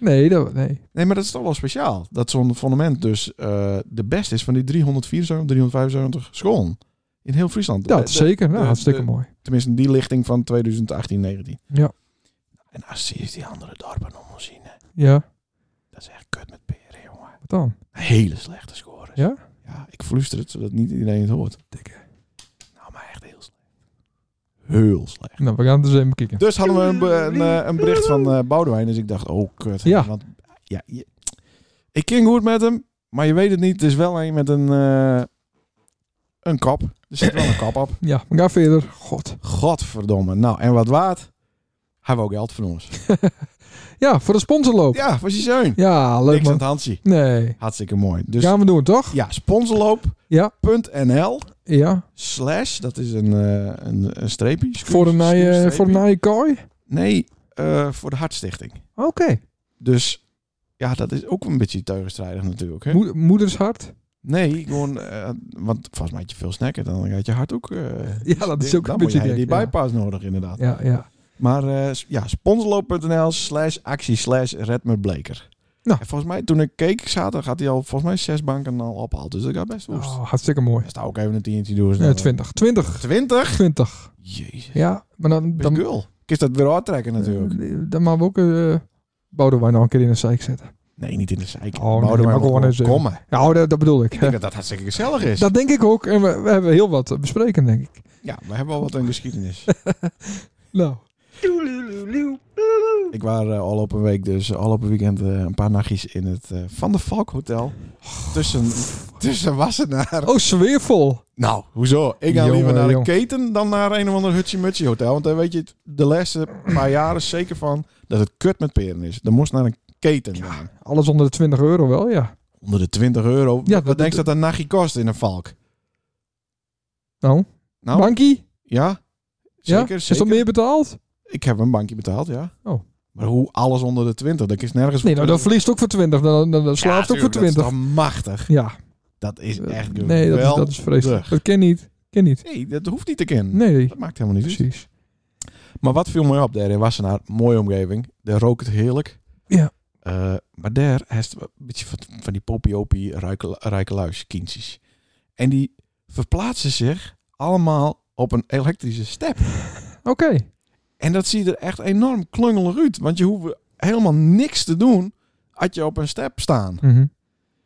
Nee, dat, nee.
Nee, maar dat is toch wel speciaal. Dat zo'n fundament dus eh, de beste is van die 374, 375 scholen. In heel Friesland.
Ja,
Eh,
dat
de-
zeker. Nou,
de-
hartstikke
de-
mooi.
Tenminste, die lichting van 2018, 19.
Ja.
En als zie je die andere dorpen om ons zien. hè.
Ja,
Dat is echt kut met peren, jongen.
wat dan?
Hele slechte scores.
Ja?
Ja, ik fluister het zodat niet iedereen het hoort.
Dikke.
Nou, maar echt heel slecht. Heel slecht.
Nou, we gaan het eens even bekijken.
Dus hadden we een, be- een, eh, een bericht van eh Boudewijn. Dus ik dacht, oh kut.
Ja.
Want, ja, je- ik ging goed met hem, maar je weet het niet. Het is wel een met een, eh, een kap. Er zit wel een kap op.
Ja, we gaan verder. God.
Godverdomme. Nou, en wat waard? Hebben we ook geld van ons.
Ja, voor de sponsorloop. Ja,
Ja, was je zoon.
leuk
Niks aan
man.
het handje.
Nee.
Hartstikke mooi. Dus ja,
Gaan we doen, toch? Ja.
sponsorloop.nl
Ja.
slash, dat is een, eh, een, een streepje. scu-
Voor de
scu-
nije,
streepje.
voor de nije kooi?
Nee, eh, voor de Hartstichting.
Oké.
Dus ja, dat is ook een beetje tegenstrijdig natuurlijk. Hè?
Moe- moeders hart?
Nee, gewoon, eh, want volgens mij had je veel snacken, dan gaat je hart ook... eh,
Ja, dat is
dan
ook een
moet
beetje
je
gek.
die
ja.
bypass nodig inderdaad.
Ja, ja.
Maar eh, s- ja, sponsorloop.nl slash actie slash red me bleker.
Nou.
En volgens mij, toen ik keek zaterdag, had hij al volgens mij zes banken al opgehaald. Dus dat gaat best woest.
Oh, hartstikke mooi.
Dan sta ook even een tientje door.
Nee, 20. 20.
20?
20.
Jezus.
Ja, maar dan...
Dan
dan
girl. Ik is dat weer uittrekken natuurlijk.
Eh, Dan maken we ook... eh Boudewijn nog een keer in de zeik zetten.
Nee, niet in de zeik.
Oh, nee,
Boudewijn
maar
moet
gewoon eens, eh,
komen. Ik
Ja, dat, dat bedoel ik.
denk dat dat hartstikke gezellig is.
Dat denk ik ook. En we, we hebben heel wat te bespreken, denk ik.
Ja, we hebben al wat een geschiedenis.
Nou.
ik was al op een week, dus al op een weekend, eh, een paar nachtjes in het eh, Van der Valk Hotel. Tussen, tussen Wassenaar.
Oh, sfeervol.
Nou, hoezo? Ik ga liever
Jongen,
naar een
jongen.
keten dan naar een of ander hutje mutje hotel. Want daar weet je het de laatste paar jaren zeker van dat het kut met peren is. Dan moest naar een keten. gaan.
Alles onder de 20 euro wel, ja.
Onder de 20 euro.
Ja,
wat
dat-
denk je dat een nachtje kost in een Valk?
Nou,
Nou,
bankie?
Ja?
Ja?
Zeker,
Is
zeker.
dat meer betaald?
Ik heb een bankje betaald, ja.
Oh.
Maar hoe alles onder de 20? Dat is nergens
Nee, nou, dat verliest ook voor 20. Dan, dan, dan
Ja,
slaapt ook voor
tuurlijk,
20.
Dat is toch machtig.
Ja.
Dat is echt
nee, dat is, dat is vreselijk.
geweldig.
Dat ken niet. Ken niet.
Nee, dat hoeft niet te kennen.
Nee,
Dat maakt helemaal niet uit.
precies.
Maar wat viel mij op daar in Wassenaar? Mooie omgeving. Daar rookt het heerlijk.
Ja.
Eh, maar daar heeft het een beetje van, van die popiopie rijkeluiskindjes. En die verplaatsen zich allemaal op een elektrische step.
Oké.
En dat ziet er echt enorm klungelig uit. Want je hoeft helemaal niks te doen als je op een step staan.
Mhm.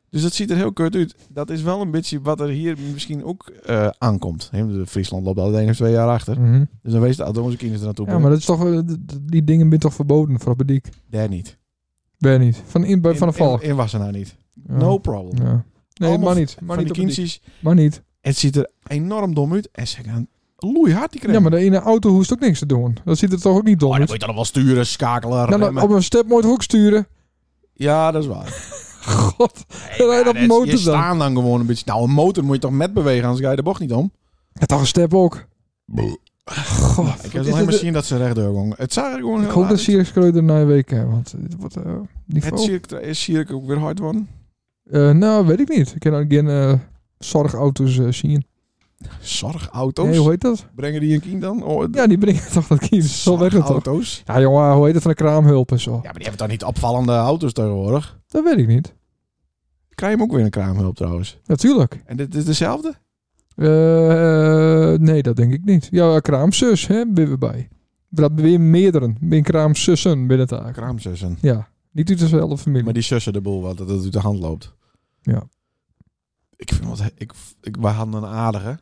Dus dat ziet er heel kort uit. Dat is wel een beetje wat er hier misschien ook eh, aankomt. Hè, de Friesland loopt al één of twee jaar achter.
Mhm.
Dus dan wees de onze kinderen er naartoe.
Ja, maar dat is toch, eh, d- d- die dingen zijn toch verboden voor Abediek?
Daar niet.
Ben niet. Van, in, bij- van de
In-
valk.
In, in Wassenaar niet.
Ja.
No problem.
Ja. Nee,
Allemaal
maar niet.
Maar
Maar
van
niet,
die
op Abediek.
kindjes
maar niet.
Het ziet er enorm dom uit. En ze gaan loeihard die
Ja,
krem.
maar de ene auto hoeft ook niks te doen. Dat ziet er toch ook niet dom
Oh, dan moet
uit.
je dan wel sturen, schakelen,
Nou, dan
remmen.
op een stepmoot hoek sturen.
Ja, dat is waar.
God,
Ja,
rijd op
dat-
een motor
je
dan.
staan dan gewoon een beetje. Nou, een motor moet je toch met bewegen, anders ga je de bocht niet om.
Ja, toch een step ook. God, wat
Ik
is
heb alleen
dit?
maar zien dat ze recht doorgingen. Het zag er gewoon
Ik
heel
hoop dat
raar uit.
Sirius Kreuder na een week hè, want dit wordt eh,
Het
niveau.
cirk is cirk ook weer hard worden.
Eh, nou, weet ik niet. Ik ken ook geen eh, zorgauto's eh, zien.
Zorgauto's.
Nee, hoe heet dat?
Brengen die een kind dan? Oh,
Ja, die brengen toch dat kind. Zo werkt het toch?
Zorgauto's.
Ja, jongen, hoe heet het van de kraamhulp en zo?
Ja, maar die hebben toch niet opvallende auto's tegenwoordig?
Dat weet ik niet.
Krijg je hem ook weer een kraamhulp trouwens.
Natuurlijk.
En dit is dezelfde?
Eh, eh, nee, dat denk ik niet. Ja, kraamzus, hè, ben we bij. Maar Dat weer meerdere. Ben kraamzussen binnen het taak.
Kraamzussen.
Ja, niet uit dezelfde familie.
Maar die zussen de boel wat dat het uit de hand loopt.
Ja.
Ik vind wat ik, ik wij hadden een aardige.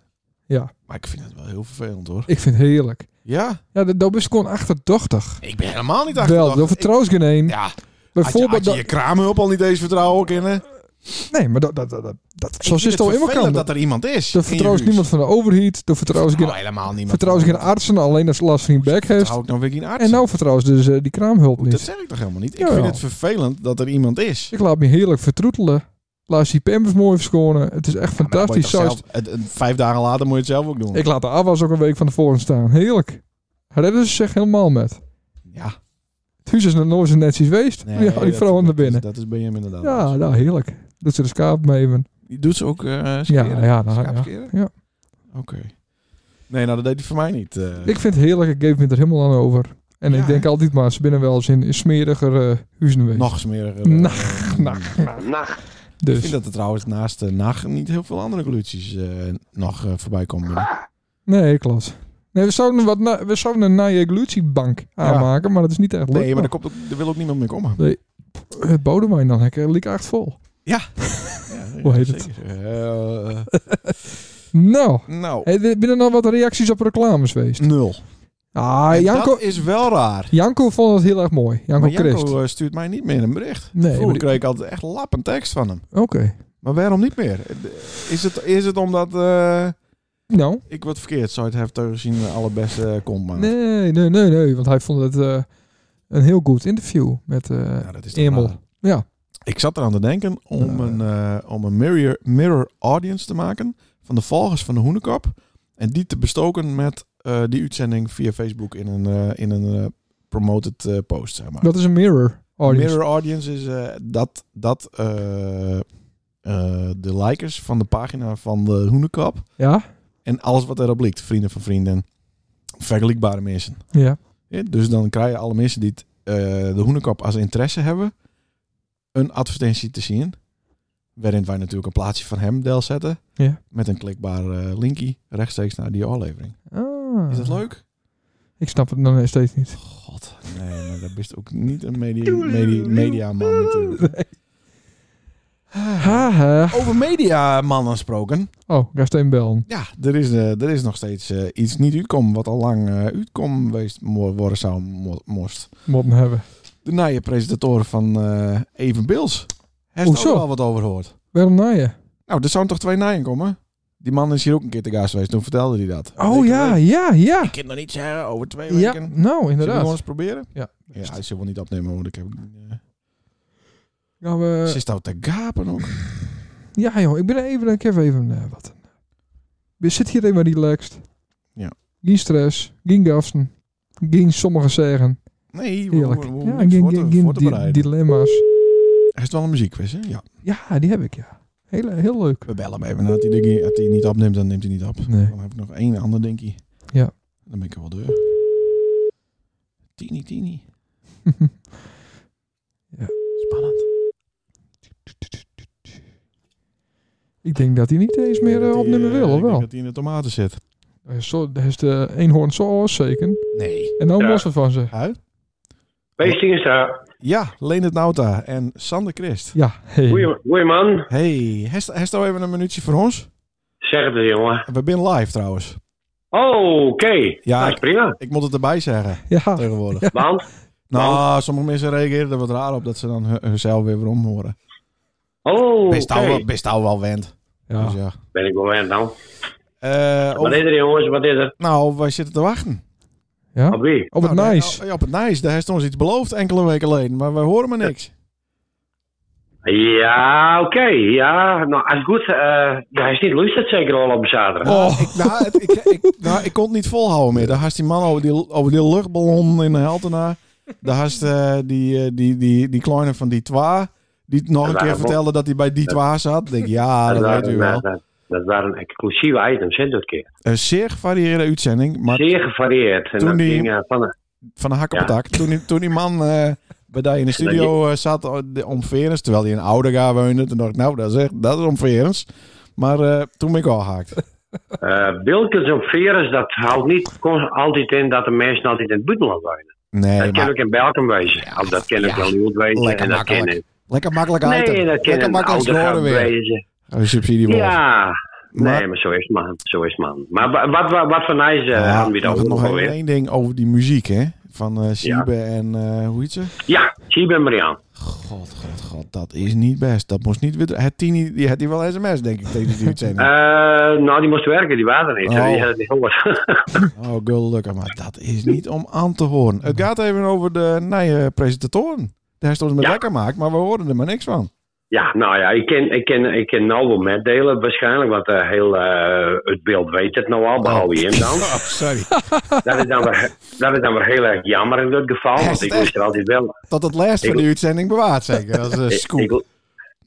Ja.
Maar ik vind het wel heel vervelend hoor.
Ik vind het heerlijk.
Ja.
Ja, dat dat is gewoon achterdochtig.
Ik ben helemaal niet achterdochtig.
Wel, dat vertrouwt geen een.
Ik- ja. Had je,
Bijvoorbeeld,
had je je kraamhulp al niet eens vertrouwen kunnen?
dat- nee, maar dat, dat, dat, dat, dat-
Ik
zoals
vind
is het al in
vervelend
elkaar.
dat er iemand is.
Er
in je
vertrouwt
huis.
niemand van de overheid. Er vertrouwt
Nou,
geen,
helemaal niemand.
vertrouwt geen artsen, alleen als last van je bek heeft.
Vertrouw ik nou weer geen arts?
En nou vertrouwt ze dus eh, die kraamhulp
dat
niet.
zeg ik toch helemaal niet. Ik
Jawel.
vind het vervelend dat er iemand is.
Ik laat me heerlijk vertroetelen. Laat die pampers mooi verschonen. Het is echt
Ja, maar dan moet je
fantastisch.
toch
Zo is-
zelf- het- het- vijf dagen later moet je het zelf ook doen.
Ik laat de afwas ook een week van tevoren staan. Heerlijk. Redden ze zich helemaal met.
ja,
Het huis is nog nooit zo netjes geweest.
nee,
ja, die
dat-
vrouwen naar
dat is-
binnen.
Dat is bij hem inderdaad.
Ja, nou heerlijk. Dat ze de schaap mee hebben.
Die doet ze ook eh
Ja,
scheren?
ja, nou,
Schaapskeren?
ja. Ja.
Oké. Nee, nou dat deed hij voor mij niet. eh.
Ik vind het heerlijk. Ik geef me er helemaal aan over. En
Ja,
ik denk
hè?
altijd maar, ze binnen wel eens in, in smeriger eh huizen geweest.
nog smeriger. eh,
Nacht, nacht, nacht.
Nacht.
Ik vind
Dus.
dat er trouwens naast de nacht niet heel veel andere glutjes eh, nog eh, voorbij komen.
Nee, klopt. Nee, we zouden, wat na- we zouden een naaie glutiebank aanmaken, maar dat is niet echt leuk.
Nee, maar er, komt ook, er wil ook niemand meer komen.
Het bodemijn dan, ik liek echt vol.
Ja,
Hoe heet
ja, zeker. Eh,
Nou,
nou,
hey, er- binnen nog wat reacties op reclames geweest?
nul.
Ah,
En
Janko,
Dat is wel raar.
Janko vond het heel erg mooi. Janko
maar Janko
Christ.
eh, stuurt mij niet meer een bericht.
Nee,
Vroeger
maar die-
kreeg ik altijd echt lappen tekst van hem.
Oké.
Maar waarom niet meer? Eh, Is het, is het omdat eh,
Nou,
ik wat verkeerd zou het hebben teruggezien de allerbeste komt maar.
nee, nee, nee, nee. Want hij vond het eh, een heel goed interview met eh
Ja, dat is toch
Emel.
raar.
Ja.
Ik zat eraan te denken om
Eh.
een, eh, om een mirror, mirror audience te maken van de volgers van de Hoenekop. En die te bestoken met eh, die uitzending via Facebook in een, eh, in een eh, promoted eh, post, zeg maar.
Dat is een mirror audience.
Mirror audience is eh, dat, dat eh, eh, de likers van de pagina van de Hoenekop
Ja?
en alles wat erop ligt, vrienden van vrienden, vergelijkbare mensen.
Ja.
Ja, dus dan krijgen alle mensen die het, eh, de hoenekop als interesse hebben, een advertentie te zien. Waarin wij natuurlijk een plaatsje van hem deel zetten.
Ja.
Met een klikbaar eh, linkie rechtstreeks naar die aflevering.
Ah.
Is dat leuk?
Ik snap het nog steeds niet.
God, nee, maar dat is ook niet een media, media, mediaman natuurlijk. Ah.
Ha, ha.
Over mediamannen gesproken.
Oh, ik ga steen bellen.
Ja, er is, eh, er is nog steeds eh, iets niet uitkom wat al lang eh uitkom geweest mo- worden zou mo- moest.
Moeten hebben.
de nieuwe presentator van eh Even Bills. Heeft er ook
Hoezo?
wel wat over gehoord.
Waarom na je?
Nou, er zouden toch twee nijen komen? Die man is hier ook een keer te gast geweest. Toen vertelde hij dat.
Oh ja, ja, ja.
Ik kan nog niet zeggen over twee
Ja,
weken.
nou
Zullen we gewoon
inderdaad.
eens proberen?
Ja.
Ja, hij zal wel niet opnemen, want ik heb... eh,
Gaan we...
ze is nou te gapen ook.
Ja joh, ik ben even, ik heb even eh, wat. We zitten hier even relaxed.
Ja.
Geen stress, geen gasten, geen sommige zeggen.
Nee, we, we,
Heerlijk.
we,
ja,
moeten
geen,
voor
geen,
te,
geen
voor te
di-
bereiden.
dilemma's.
Hij is wel een muziekquiz, hè? Ja.
Ja, die heb ik ja. Heel, heel leuk.
We bellen hem even. Als hij, de- als hij niet opneemt, dan neemt hij niet op.
Nee.
Dan heb ik nog één ander, denk ik.
Ja.
Dan ben ik er wel door. Tini, tini.
Ja.
Spannend.
ik denk dat hij niet eens meer eh, opnemen wil, of
Ik denk
wel?
dat hij in de tomaten zit.
Hij is zo- hij is de eenhoorn zo zeker.
Nee.
En nou
Ja.
was het van ze.
Hui?
Wees eens daar.
Ja, Leendert Nauta en Sander Christ.
Ja, hey.
Goeie goeie man.
Hey, heeft al even een minuutje voor ons?
Zeg het eens, jongen.
We zijn live trouwens.
Oh, oké.
Ja,
Nou,
ik-
prima.
Ik moet het erbij zeggen,
Ja,
tegenwoordig.
Want?
Nou, sommige mensen reageren er wat raar op dat ze dan hun- hunzelf weer weer omhoren.
Oh,
Best
oké.
al wel, best al wel wend.
Ja.
Dus ja.
Ben ik moment nou.
Oh. Eh,
Wat
op-
is er jongens? Wat is er?
nou, wij zitten te wachten.
ja?
Op wie?
Op het
Nou,
nice.
daar- ja, op het nice. Daar heeft ons iets beloofd enkele weken geleden, maar wij horen maar niks.
Ja, oké. Ja, nou, als goed. eh, ja, hij is niet lustig zeker al op zaterdag.
Oh.
Ik, nou, het- ik, ik, nou, ik kon het niet volhouden meer. Daar had die man over die, over die luchtballon in de Heltena. Daar had eh, die, eh, die, die, die kleine van die twa. Die nog een
waren
keer
we-
vertelde dat hij bij die twa zat. Ik denk, ja, dat weet u wel.
Dat, dat waren exclusieve items, hè, dat keer.
Een zeer gevarieerde uitzending. Maar
Zeer gevarieerd. En
Toen
dat
die-
ging, eh, van, de-
van de hak op
Ja.
het dak. Toen, die- toen die man eh, bij die in de studio eh, zat oh, de- om Verens, terwijl hij in Oudega woonde, toen dacht ik, nou, dat is, echt, dat is om Verens. Maar eh, toen ben ik al gehaakt.
eh, Bilkens op Veres, dat houdt niet con- altijd in dat de mensen altijd in het buitenland wonen.
Nee,
dat kan
Eh, maar
ook in Belgium wezen. of dat kan ook
ja.
in Nieuw wezen.
Lekker
en dat kan
makkelijk.
in-
lekker makkelijk uit.
Nee, dat kan
lekker
in
makkelijk scoren
Oudegraaf
weer. Oh,
wezen.
Een subsidie
Ja.
Maar-
nee, maar zo is het man. Zo is het man. Maar wa- wat, wat, wat voor nice eh, hebben we dan
nog,
ook
nog
nog
even
alweer?
één ding over die muziek, hè? Van eh Siebe en eh, hoe heet ze?
Ja, zie je Marian.
God, god, god, dat is niet best. Dat moest niet weer. Het Tini, die had die wel sms, denk ik, tegen die uitzending.
Eh, nou, die moest werken, die waren er niet.
Oh.
Die hadden het niet gehoord.
Oh, gelukkig, maar dat is niet om aan te horen. Het gaat even over de nieuwe presentatoren. Daar stond het met
Ja.
lekker maakt, maar we hoorden er maar niks van.
ja, nou ja, ik ken, ik ken, ik ken nou wel metdelen waarschijnlijk, want eh, heel eh, het beeld weet het nou al, behalve je hem dan.
Oh, sorry.
Dat is dan, weer, dat is dan weer heel erg jammer in dat geval, want ik wist er altijd wel.
Tot het laatst van
Ik-
die uitzending bewaard, zeker. Dat is een
Ik,
scoop.
ik,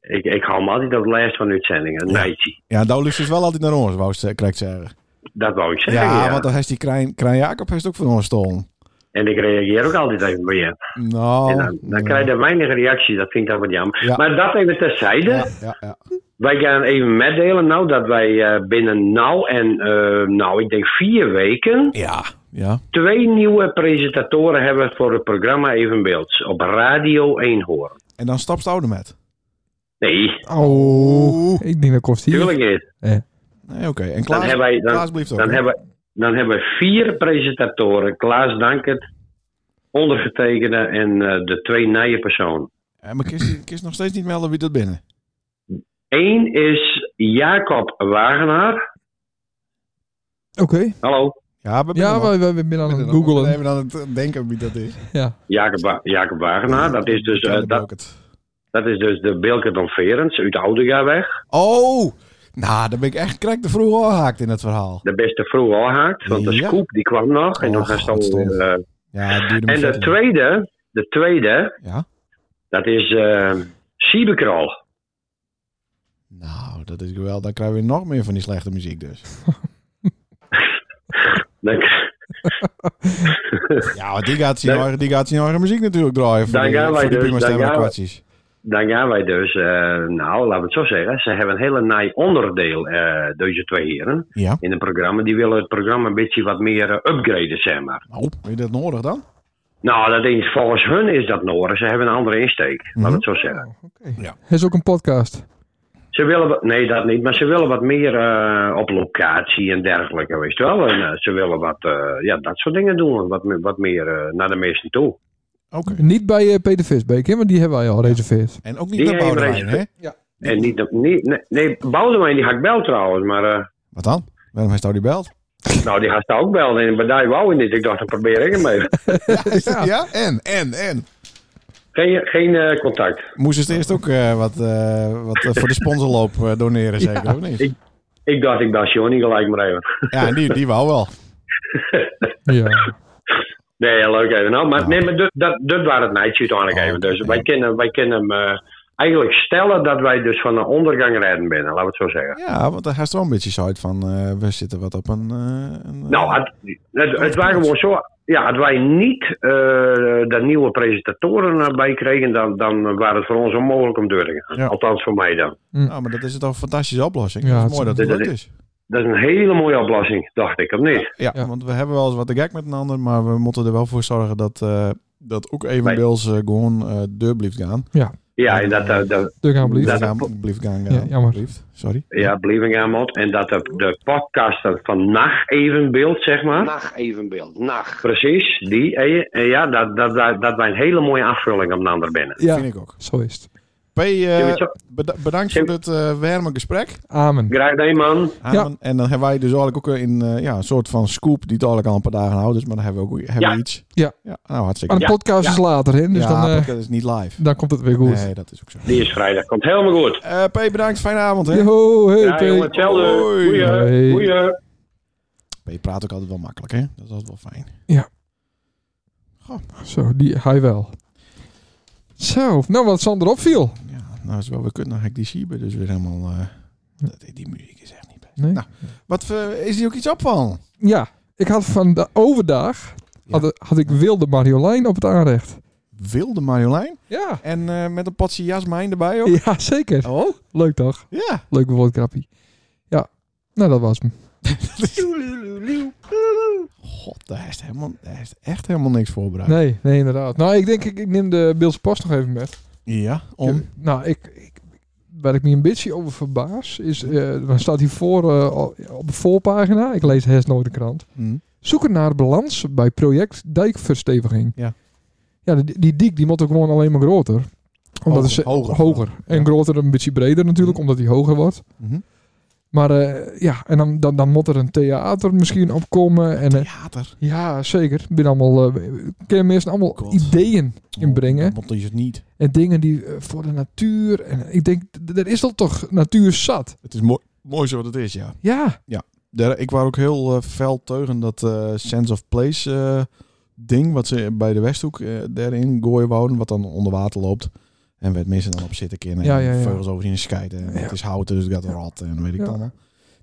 ik, ik hou me altijd op de lijst van uitzendingen. Nee,
Ja, daar luistert wel altijd naar ons, wou ik ze- krijg ik zeggen.
dat wou ik
Ja,
zeggen. Ja,
want dan heeft die Krijn, Krijn Jacob heeft ook van ons stolen.
En ik reageer ook altijd even bij je.
Nou,
en dan, dan krijg je weinig reactie, dat vind ik dan wat jammer.
Ja.
Maar dat even terzijde.
ja, ja, ja.
Wij gaan even meddelen nou dat wij eh, binnen nou en eh, nou ik denk vier weken
Ja, ja.
twee nieuwe presentatoren hebben voor het programma Evenbeelds op Radio 1 horen.
En dan stapt Oude met.
Nee,
nou,
Oh.
eh,
Ik denk dat kost hier.
tuurlijk niet.
Nee, oké. En
Dan
Klaas,
hebben wij
Klaas
dan,
blijft ook.
dan
hè?
hebben, dan hebben wij vier presentatoren. Klaas Dankert, ondergetekende en eh, de twee nieuwe personen.
Ja, maar kist, kist nog steeds niet melden wie dat binnen.
Eén is Jacob Wagenaar.
Oké.
Hallo,
Ja, we
Ja,
we
maar we we zijn aan het
We
googelen.
hebben aan het denken wie dat is.
Ja.
Jacob, Wa- Jacob Wagenaar. Dat is dus, eh,
Bekende
dat,
Bokert.
dat is dus de Bilkert van Verens uit Oudegaweg.
Oh! Nou, daar ben ik echt krek te vroeg gehaakt in het verhaal.
de beste vroeg al haakt. Want de
Ja.
scoop die kwam nog. En,
Oh,
dan gaan ze
God,
alweer, eh,
Ja, het duurde me
en de
vet lang.
tweede, de tweede,
Ja?
dat is eh Siebekral.
Nou, dat is geweldig. Dan krijgen we nog meer van die slechte muziek dus.
Dan,
Ja, want die gaat zijn,
Nee.
eigen, die gaat zijn eigen muziek natuurlijk draaien. Voor
Dan
die,
gaan wij
voor die
dus,
Prima
dan
Stemmen
gaan wij-
kwartjes.
dan gaan wij dus, eh, nou laten we het zo zeggen, ze hebben een hele naai onderdeel, eh, deze twee heren,
Ja.
in het programma. Die willen het programma een beetje wat meer eh, upgraden, zeg maar.
Nou, vind je dat nodig dan?
Nou, dat is, volgens hun is dat nodig. Ze hebben een andere insteek, laten we het zo zeggen.
Er Oh, is ook een podcast.
Ze willen, wat- nee, dat niet, maar ze willen wat meer eh, op locatie en dergelijke, weet je wel. En, eh, ze willen wat, eh, ja, dat soort dingen doen, wat, me- wat meer eh, naar de meesten toe.
Oké.
Niet bij eh, Peter Visbeek, hè, want die hebben wij al reserveerd.
En ook niet
Die
naar
hebben we
Boudewijn, hè?
reeds- En niet, op- niet nee, nee, Boudewijn die ga ik bel trouwens, maar eh,
Wat dan? Waarom heeft hij die belt?
nou, die gaat ze ook bellen. En bij die wou ik niet, ik dacht, dan probeer ik hem even.
Ja. En, en, en.
Geen, geen eh, contact.
Moest het eerst ook eh, wat, eh, wat eh, voor de sponsorloop eh, doneren, zeker, of niet?
Ik dacht, ik bel Johnny gelijk maar even.
Ja, en die, die wou wel.
Ja.
Nee, leuk even. Nou, maar, nee, maar dat, dat, dat waren het meisje uiteindelijk
Oh,
even. Dus
oké.
wij kunnen, wij kunnen hem eh, eigenlijk stellen dat wij dus van de ondergang redden binnen, laten we het zo zeggen.
Ja, want daar gaat wel een beetje zo uit van, eh, we zitten wat op een... eh, een, eh,
Nou, het, het, het waren gewoon zo. Ja, als wij niet eh de nieuwe presentatoren eh, bij kregen, dan, dan waren het voor ons onmogelijk om door te gaan.
Ja.
Althans voor mij dan.
nou, maar dat is toch een fantastische oplossing.
Ja,
het
het
is
is-
mooi dat het
dat
lukt
is-
is.
Dat is een hele mooie oplossing, dacht ik, of niet?
Ja,
Ja.
want we hebben wel eens wat te gek met een ander, maar we moeten er wel voor zorgen dat, eh, dat ook evenbeels eh, gewoon eh deur blijft gaan.
Ja, en dat, eh, de,
Doe ik aan, blieft.
Ja, dat-
gaan, blijft gaan,
Ja, jammer.
Blijft, sorry.
ja, Bleeding Amot, en dat de, de podcaster van Nacht Evenbeeld, zeg maar.
Nacht evenbeeld, nacht.
Precies, die. En, je- en ja, dat, dat, dat, dat wij een hele mooie aanvulling op een ander binnen.
Ja,
Vind ik ook.
zo is het.
P, eh,
Ja, weet je-
beda- bedankt voor dit eh, warme gesprek.
Amen.
Graag nee, man.
Amen. En dan hebben wij dus eigenlijk ook in eh, ja, een soort van scoop die het eigenlijk al een paar dagen oud is, maar dan hebben we ook hebben we
Ja.
iets.
Ja.
ja. Nou, hartstikke
Maar de
Ja,
podcast
ja.
is later, hè? Dus
ja,
dan, eh,
dat is niet live.
dan komt het weer goed.
Nee, dat is ook zo.
Die is vrijdag. Komt helemaal goed.
Eh, P, bedankt. Fijne avond, hè?
Yo, hey,
Ja,
P.
jongen, hetzelfde.
Hoi.
Goeie.
Hoi.
Goeie.
P praat ook altijd wel makkelijk, hè? Dat is altijd wel fijn.
Zo, die, hij wel. Zo, nou wat Sander opviel.
Ja, nou is wel weer kut. Dan ga ik die Siebe dus weer helemaal... eh, dat, die muziek is echt niet best.
Nee?
Nou. Wat eh, is hier ook iets op van?
Ja, ik had van de overdag had, had ik wilde Marjolein op het aanrecht.
Wilde Marjolein.
Ja.
En eh, met een potje jasmijn erbij ook.
Ja, zeker.
Oh?
Leuk toch?
Ja.
Leuk woordkrappie. Ja, nou dat was hem.
God, daar is, helemaal, daar is echt helemaal niks voorbereid.
Nee, nee, inderdaad. Nou, ik denk, ik, ik neem de Beeldse Post nog even met.
Ja, om...
Nou, ik, ik, waar ik me een beetje over verbaas, is, eh dan staat hier voor eh, op de voorpagina, ik lees Hest nooit de krant.
Hm.
zoeken naar balans bij project dijkversteviging.
Ja.
Ja, die, die dijk die moet ook gewoon alleen maar groter. Omdat
Hoger,
het ze-
hoger.
En
Ja.
groter een beetje breder natuurlijk,
Mhm.
omdat die hoger wordt.
Mhm.
Maar eh, ja, en dan, dan, dan moet er een theater misschien opkomen. En, eh,
Theater.
ja, zeker. Ben allemaal, eh kunnen mensen allemaal
God.
ideeën
Oh,
inbrengen.
Want dat is het niet.
En dingen die eh, voor de natuur. En eh, ik denk, d- er is dan toch natuur zat.
Het is mooi, mooi zoals het is, ja.
Ja,
Daar, ik was ook heel eh, fel teugen dat eh, Sense of Place eh, ding, wat ze bij de Westhoek eh, daarin gooien wouden, wat dan onder water loopt. En werd mensen dan op zitten kennen
Ja,
en
ja, ja.
vogels over in scheiden. En
Ja.
het is hout, dus het gaat rot en weet ik
Ja.
dan allemaal.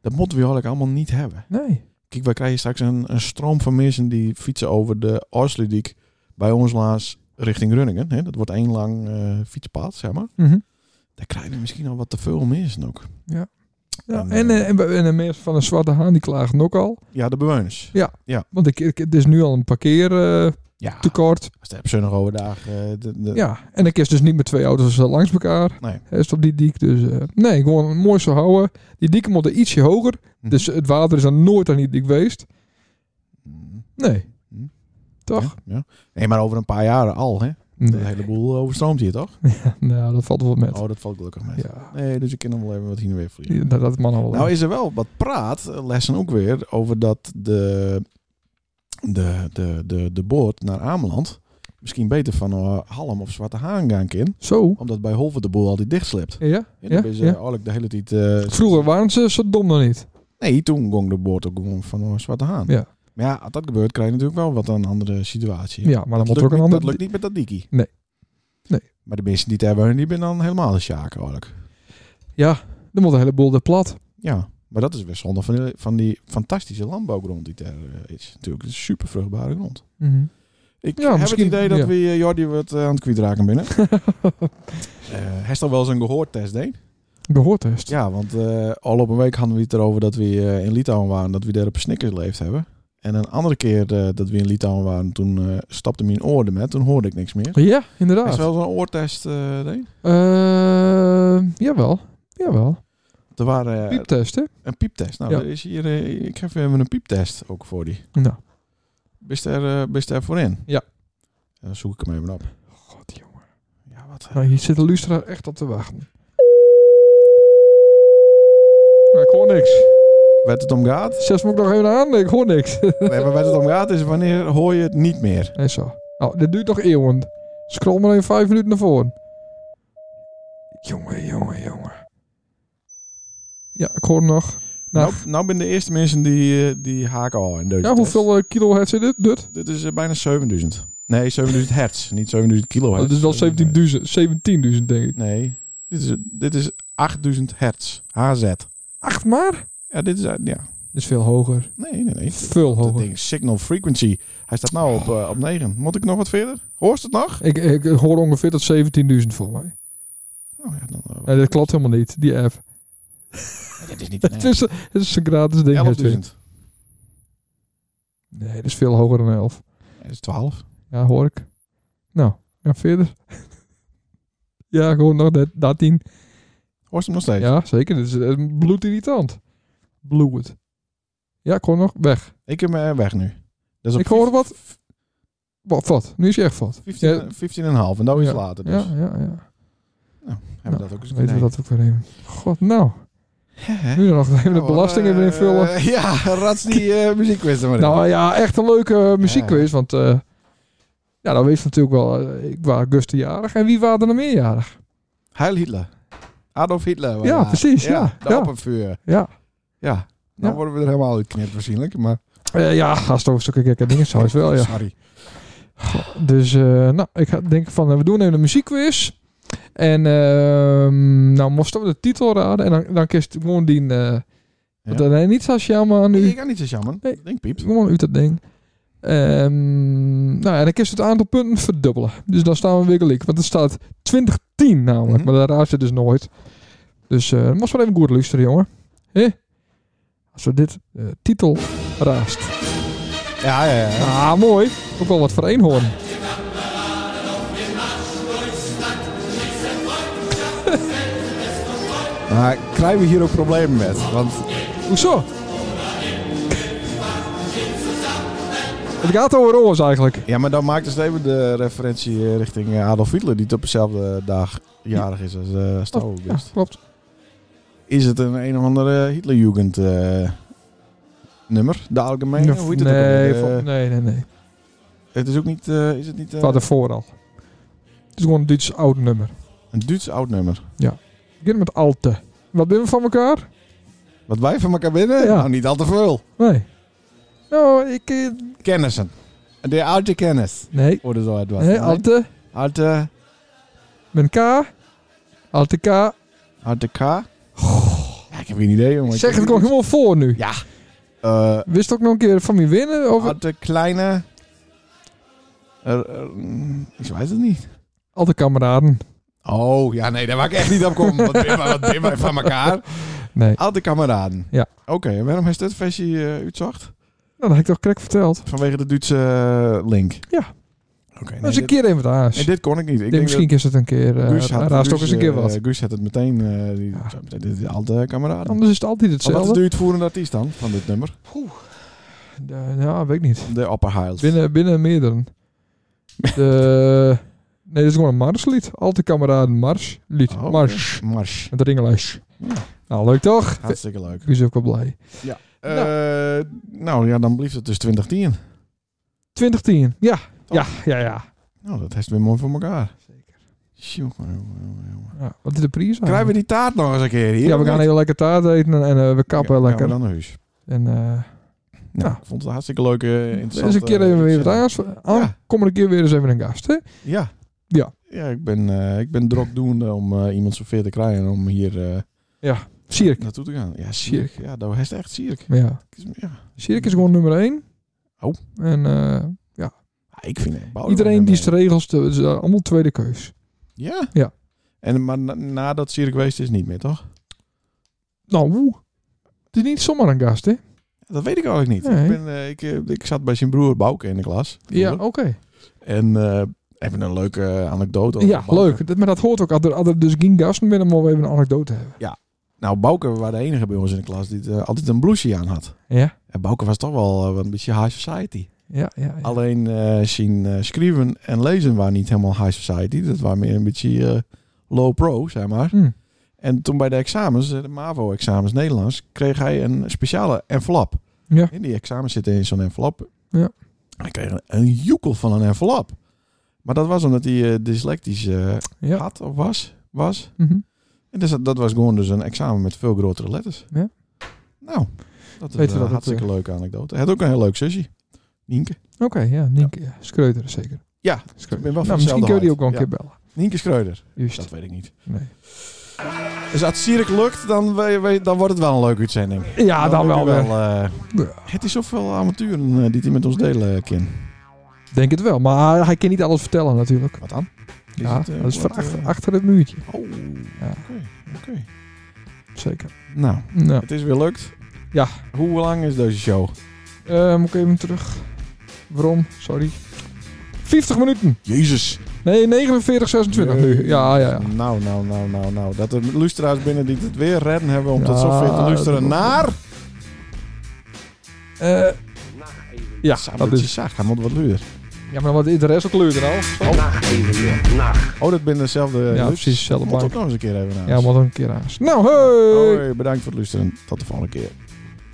Dat moeten we eigenlijk allemaal niet hebben.
nee.
Kijk, wij krijgen straks een, een stroom van mensen die fietsen over de Orslidiek bij ons laars richting Runningen. Hè? Dat wordt één lang eh, fietspad, zeg maar.
Mhm.
Daar krijgen we misschien al wat te veel mensen ook.
Ja,
En,
en, eh, en, en de mensen van een zwarte haan die klagen ook al.
Ja, de bewoners.
Want ik, ik, het is nu al een eh, parkeertekort.
Ja,
tekort
als de zonnig overdag. eh, de, de,
ja, en ik is dus niet met twee auto's eh, langs elkaar.
Nee.
Hè, is het op die diek. Dus eh, nee, gewoon mooi zo houden. Die dieken moeten ietsje hoger.
Mhm.
Dus het water is dan nooit aan die dik geweest.
Mm.
Nee.
Mhm.
Toch?
Ja, ja. Nee, maar over een paar jaren al, hè? De
Nee.
hele boel overstroomt hier, toch?
Nou, dat valt wel met.
Oh, dat valt gelukkig mee.
ja.
Nee, dus ik ken hem wel even wat hier en weer vliegen.
Ja, Dat, dat man al.
Nou is er wel wat praat, eh, lessen ook weer, over dat de, de, de, de, de boot naar Ameland misschien beter van eh, Halm of Zwarte Haan gaan kan.
zo.
Omdat bij Holven de boel altijd dicht slipt.
Ja?
Ja, dan
Ja?
ben je
ja.
eigenlijk de hele tijd... eh,
Vroeger waren ze zo dom dan niet.
Nee, toen gong de boot ook gewoon van eh, Zwarte Haan.
Ja.
Maar ja, als dat gebeurt, krijg je natuurlijk wel wat een andere situatie.
Ja, maar dan
Dat
moet
lukt,
er ook een
niet, dat
ander...
lukt niet met dat dikkie.
Nee. Nee.
Maar de mensen die het hebben, die ben dan helemaal de sjaak eigenlijk.
Ja, dan moet een heleboel er plat.
Ja, maar dat is weer zonde van die, van die fantastische landbouwgrond die er eh, is. Natuurlijk, het is super vruchtbare grond. Ik
Ja,
heb het
misschien-
idee dat
ja.
we eh, Jordi wat eh, aan het kwijt raken binnen. Eh Hij is al wel eens een gehoortest deed.
Gehoortest.
Ja, want eh, al op een week hadden we het erover dat we eh, in Litouwen waren, dat we daar op een Snickers leefd hebben. En een andere keer eh, dat we in Litouwen waren, toen eh, stapte mijn oor er met, toen hoorde ik niks meer.
Ja,
Hij
inderdaad.
is wel eens een oortest eh deed.
Eh, jawel. Jawel.
Er waren, eh,
Pieptesten.
Een pieptest. Nou,
Ja.
er is hier, eh, ik heb even een pieptest ook voor die.
Nou.
Bist er, eh, bist er voor in?
Ja.
En dan zoek ik hem even op.
God, jongen.
Ja, wat. eh,
Nou, hier zit de luisteraar echt op te wachten. Nou, ik hoor niks.
Werd het om gaat?
Zes moet ik nog even aan? Nee, ik hoor niks.
Nee, maar werd het om gaat is wanneer hoor je het niet meer.
en zo. Nou, dit duurt nog eeuwen. Scroll maar even vijf minuten naar voren. Jongen, jongen, jongen. Ja, ik hoor hem nog. Nou.
Nou, nou ben de eerste mensen die, eh, die haken al in deze
Ja,
test.
hoeveel eh, kilohertz is dit? Dit?
Dit is eh, bijna 7000. Nee, 7000 hertz. Niet 7000 kilohertz.
Dat Oh, is wel
7000
17.000, 17.000 denk ik.
Nee, dit is, dit is 8000 hertz. HZ.
Acht maar?
Ja, dit is... eh, Ja.
Dat is veel hoger.
Nee, nee, nee.
Veel
Dat
hoger.
ding is signal frequency. Hij staat nou op, eh, op 9. Moet ik nog wat verder? Hoorst het nog?
Ik, ik hoor ongeveer tot 17.000 voor mij.
Oh ja, dan, eh,
Nee, dat klopt helemaal niet, die app.
dat is niet
Eh,
eh,
Het, is, het is een gratis ding. natuurlijk.
11.000.
Nee, dat is veel hoger dan 11.
Dat is 12.
Ja, hoor ik. Nou, ja, verder. ja, gewoon nog dat- dat 10.
Hoorst hem nog steeds?
Ja, zeker. Dit is eh, bloedirritant. Bloed. Ja, ik hoor nog. Weg.
Ik heb hem eh, weg nu. Dat is op
Ik hoor
vijf-
wat. Wat? Wat? Nu is je echt wat.
15,
Ja.
15 en een half. En nou is het
Ja.
later dus.
Ja, ja, ja.
Hebben we dat ook eens
Weten we
gedaan?
dat ook weer even. God, nou.
Hè?
Nu nog even de
Nou,
belastingen
eh,
weer invullen.
ja, rats die eh, muziekquiz er maar in.
Nou ja, echt een leuke eh, muziekquiz. Want eh, ja, dan weet je natuurlijk wel, eh, ik was Guste jarig. En wie waren er nog meer jarig?
Heil Hitler. Adolf Hitler. was
Ja,
daar.
precies, ja,
De
ja.
oppervuur.
Ja.
Ja. Nou
Ja.
worden we er helemaal uitknipt waarschijnlijk, maar...
Eh, ja, gast over zulke gekke dingen zou het wel, ja.
Sorry.
Dus eh, nou, ik ga- denk van, eh, we doen even een muziekquiz. En ehm nou moesten we de titel raden. En dan, dan kiest gewoon die... eh
Ja.
Dat is niet zoals jammer nu.
Nee, ik kan niet zo jammer.
Nee.
Ik denk piept.
Gewoon uit dat ding. Ehm, nou, en dan kun je het aantal punten verdubbelen. Dus dan staan we weer gelijk. Want het staat 2010 namelijk.
Mhm.
Maar daar raad je dus nooit. Dus eh moest wel even goed luisteren, jongen. Hé? Als we dit eh, titel raast.
Ja, ja, ja.
Ah, mooi. Ook wel wat voor eenhoorn.
Maar krijgen we hier ook problemen met? Want
Hoezo? Het gaat over ons eigenlijk.
ja, maar dan maakt dus even de referentie eh, richting eh, Adolf Hitler, die op dezelfde dag jarig is als eh Stouw
Oh, Ja, klopt.
Is het een een of andere Hitlerjugend eh, nummer? De algemene? Hoe heet het ook
nee,
alweer?
vol-
Eh,
nee, nee, nee.
Het is ook niet... eh, is het niet eh,
Het was ervoor al. Het is gewoon een Duits oud nummer.
een Duits oud nummer?
Begin met alte. Wat ben we van elkaar?
Wat wij van elkaar binnen?
Ja.
Nou, niet al te veel.
Nee. Nou, ik... eh,
Kennissen. De oude kennis.
Nee.
Hoorde zo het was.
Nee, alte.
Alte...
Met K. Alte K.
Alte K. Ja, ik heb geen idee, jongen.
Zeg het gewoon helemaal voor nu.
Ja. Eh
Wist ook nog een keer van wie winnen? Of
alte kleine... Eh, eh, mm, ik weet het niet.
alte kameraden?
Oh, ja, nee, daar mag ik echt niet op komen. Wat ben wij, wat ben wij van elkaar?
Nee.
Alte kameraden.
Ja.
Oké, en waarom heeft dit versie eh uitzocht?
Nou, dat heb ik toch krek verteld.
Vanwege de Duitse eh, link.
Ja.
Oké, nee,
Dat is een
dit,
keer even daar.
en dit kon ik niet. Ik
Ik denk misschien is het een keer. eh,
Guus had,
raast ook
Guus,
eens een keer
eh,
wat.
Guus had het meteen. eh die,
Ja.
zei meteen, dit is Alte kameraden.
Anders is het
Maar
altijd
Wat is de
hetzelfde.
uitvoerende artiest dan van dit nummer?
Eh, nou, weet ik niet.
De Upper Hiles.
Binnen, binnen meerdere. De, nee, dit is gewoon een marslied. Alte kameraden marslied.
Oh, oké.
Mars.
Mars.
Met de ringlijst.
Ja.
Nou, leuk toch?
Hartstikke leuk.
Guus is ook wel blij.
Eh, nou ja, dan blijft het dus 2010.
2010. Ja,
Toch?
ja, ja, ja.
Nou, dat is weer mooi voor elkaar.
Zeker.
Jongen, jongen, jongen, jongen.
ja. Wat is de prijs
Krijgen we die taart nog eens een keer hier?
Ah. Ja, we gaan heel lekker taart eten en, en, eh, we kappen
Ja,
lekker.
Gaan we dan naar huis.
En eh
Nou,
Ja.
ik vond het een hartstikke leuk. eh,
eens
interessant.
een keer
eh,
even weer
uitzending.
wat aan. Komende keer weer eens even een gast. Hè?
Ja.
Ja.
Ja, ik ben, eh, ik ben drokdoende om eh, iemand zover te krijgen om hier eh,
Sierk.
naartoe te gaan. Ja,
Sierk.
Sierk. Ja, dat is echt Sierk.
Ja.
Het is- Ja.
Sierk is gewoon nummer 1.
Oh.
En eh,
Ah, Ik vind het Boudewijn
iedereen die
ermee.
is de regels, de, is, eh, allemaal tweede keus.
Ja?
Ja.
En, maar na- nadat Sierk geweest is niet meer, toch?
Nou, oeh. Het is niet zomaar een gast, hè?
Dat weet ik eigenlijk niet.
Nee.
Ik, ben, eh, ik, eh, ik zat bij zijn broer Bouke in de klas.
Ja, oké.
En eh even een leuke eh, anekdote. over
Ja,
Bouke.
leuk. Dat, maar dat hoort ook. Als er, als er dus geen gasten binnen, mogen we even een anekdote hebben.
Nou, Bouke was de enige bij ons in de klas die eh, altijd een blouseje aan had.
Ja?
En Bouke was toch wel eh, een beetje high society.
Ja, ja. ja.
Alleen eh zien eh, schrijven en lezen waren niet helemaal high society. Dat waren meer een beetje eh, low pro, zeg maar.
Hm.
En toen bij de examens, eh, de MAVO-examens Nederlands, kreeg hij een speciale envelop.
Ja.
In die examens zitten in zo'n envelop.
Ja.
Hij kreeg een, een joekel van een envelop. Maar dat was omdat hij eh, dyslectisch eh,
Ja.
had of was. was.
Mhm.
En dus dat, dat was gewoon dus een examen met veel grotere letters.
Ja.
Nou, dat
Weet
is
je
een
dat
hartstikke
het, eh,
leuke anekdote. Hij had ook een heel leuk zusje. Nienke.
Oké, ja. Nienke. Ja. Schreuter, zeker.
Ja,
Schreuter.
ik ben wel van
nou, misschien
dezelfde
kun je die ook wel
huid.
een keer bellen.
Nienke Schreuder.
Juist.
Dat weet ik niet.
Nee.
Dus als Sierk lukt, dan, we- we- dan wordt het wel een leuke uitzending.
Ja, Ah, dan
lukt
wel
het
weer.
eh,
Ja.
Het is zoveel avonturen eh, die hij met ons delen, Kin.
Denk het wel, maar hij kan niet alles vertellen natuurlijk.
Wat dan? Is
ja,
het, eh,
dat is van
wat,
achter,
eh,
achter het muurtje.
Oh,
Ja.
oké, oké.
Zeker.
Nou,
Nou,
het is weer lukt.
Ja.
Hoe lang is deze show?
eh, moet ik even terug. Waarom? Sorry. 50 minuten.
Jezus.
Nee, 49, 26 nu. Ja, ja, ja.
Nou, nou, nou, nou, nou. Dat er luisteraars binnen die het weer redden hebben om tot
Ja,
zover te luisteren
dat-
naar...
Eh, ja,
Samen
dat
dat je
is...
zacht, hij moet wat luider.
Ja, maar wat is de rest ook kleur al?
Nacht even weer. Nacht.
Oh, dat ben dezelfde.
Ja,
Lux.
precies, dezelfde
Moet ook
bank.
nog eens een keer even naast.
Ja, maar dan een keer aan. Nou, hey!
Hoi, bedankt voor het luisteren. Tot de volgende keer.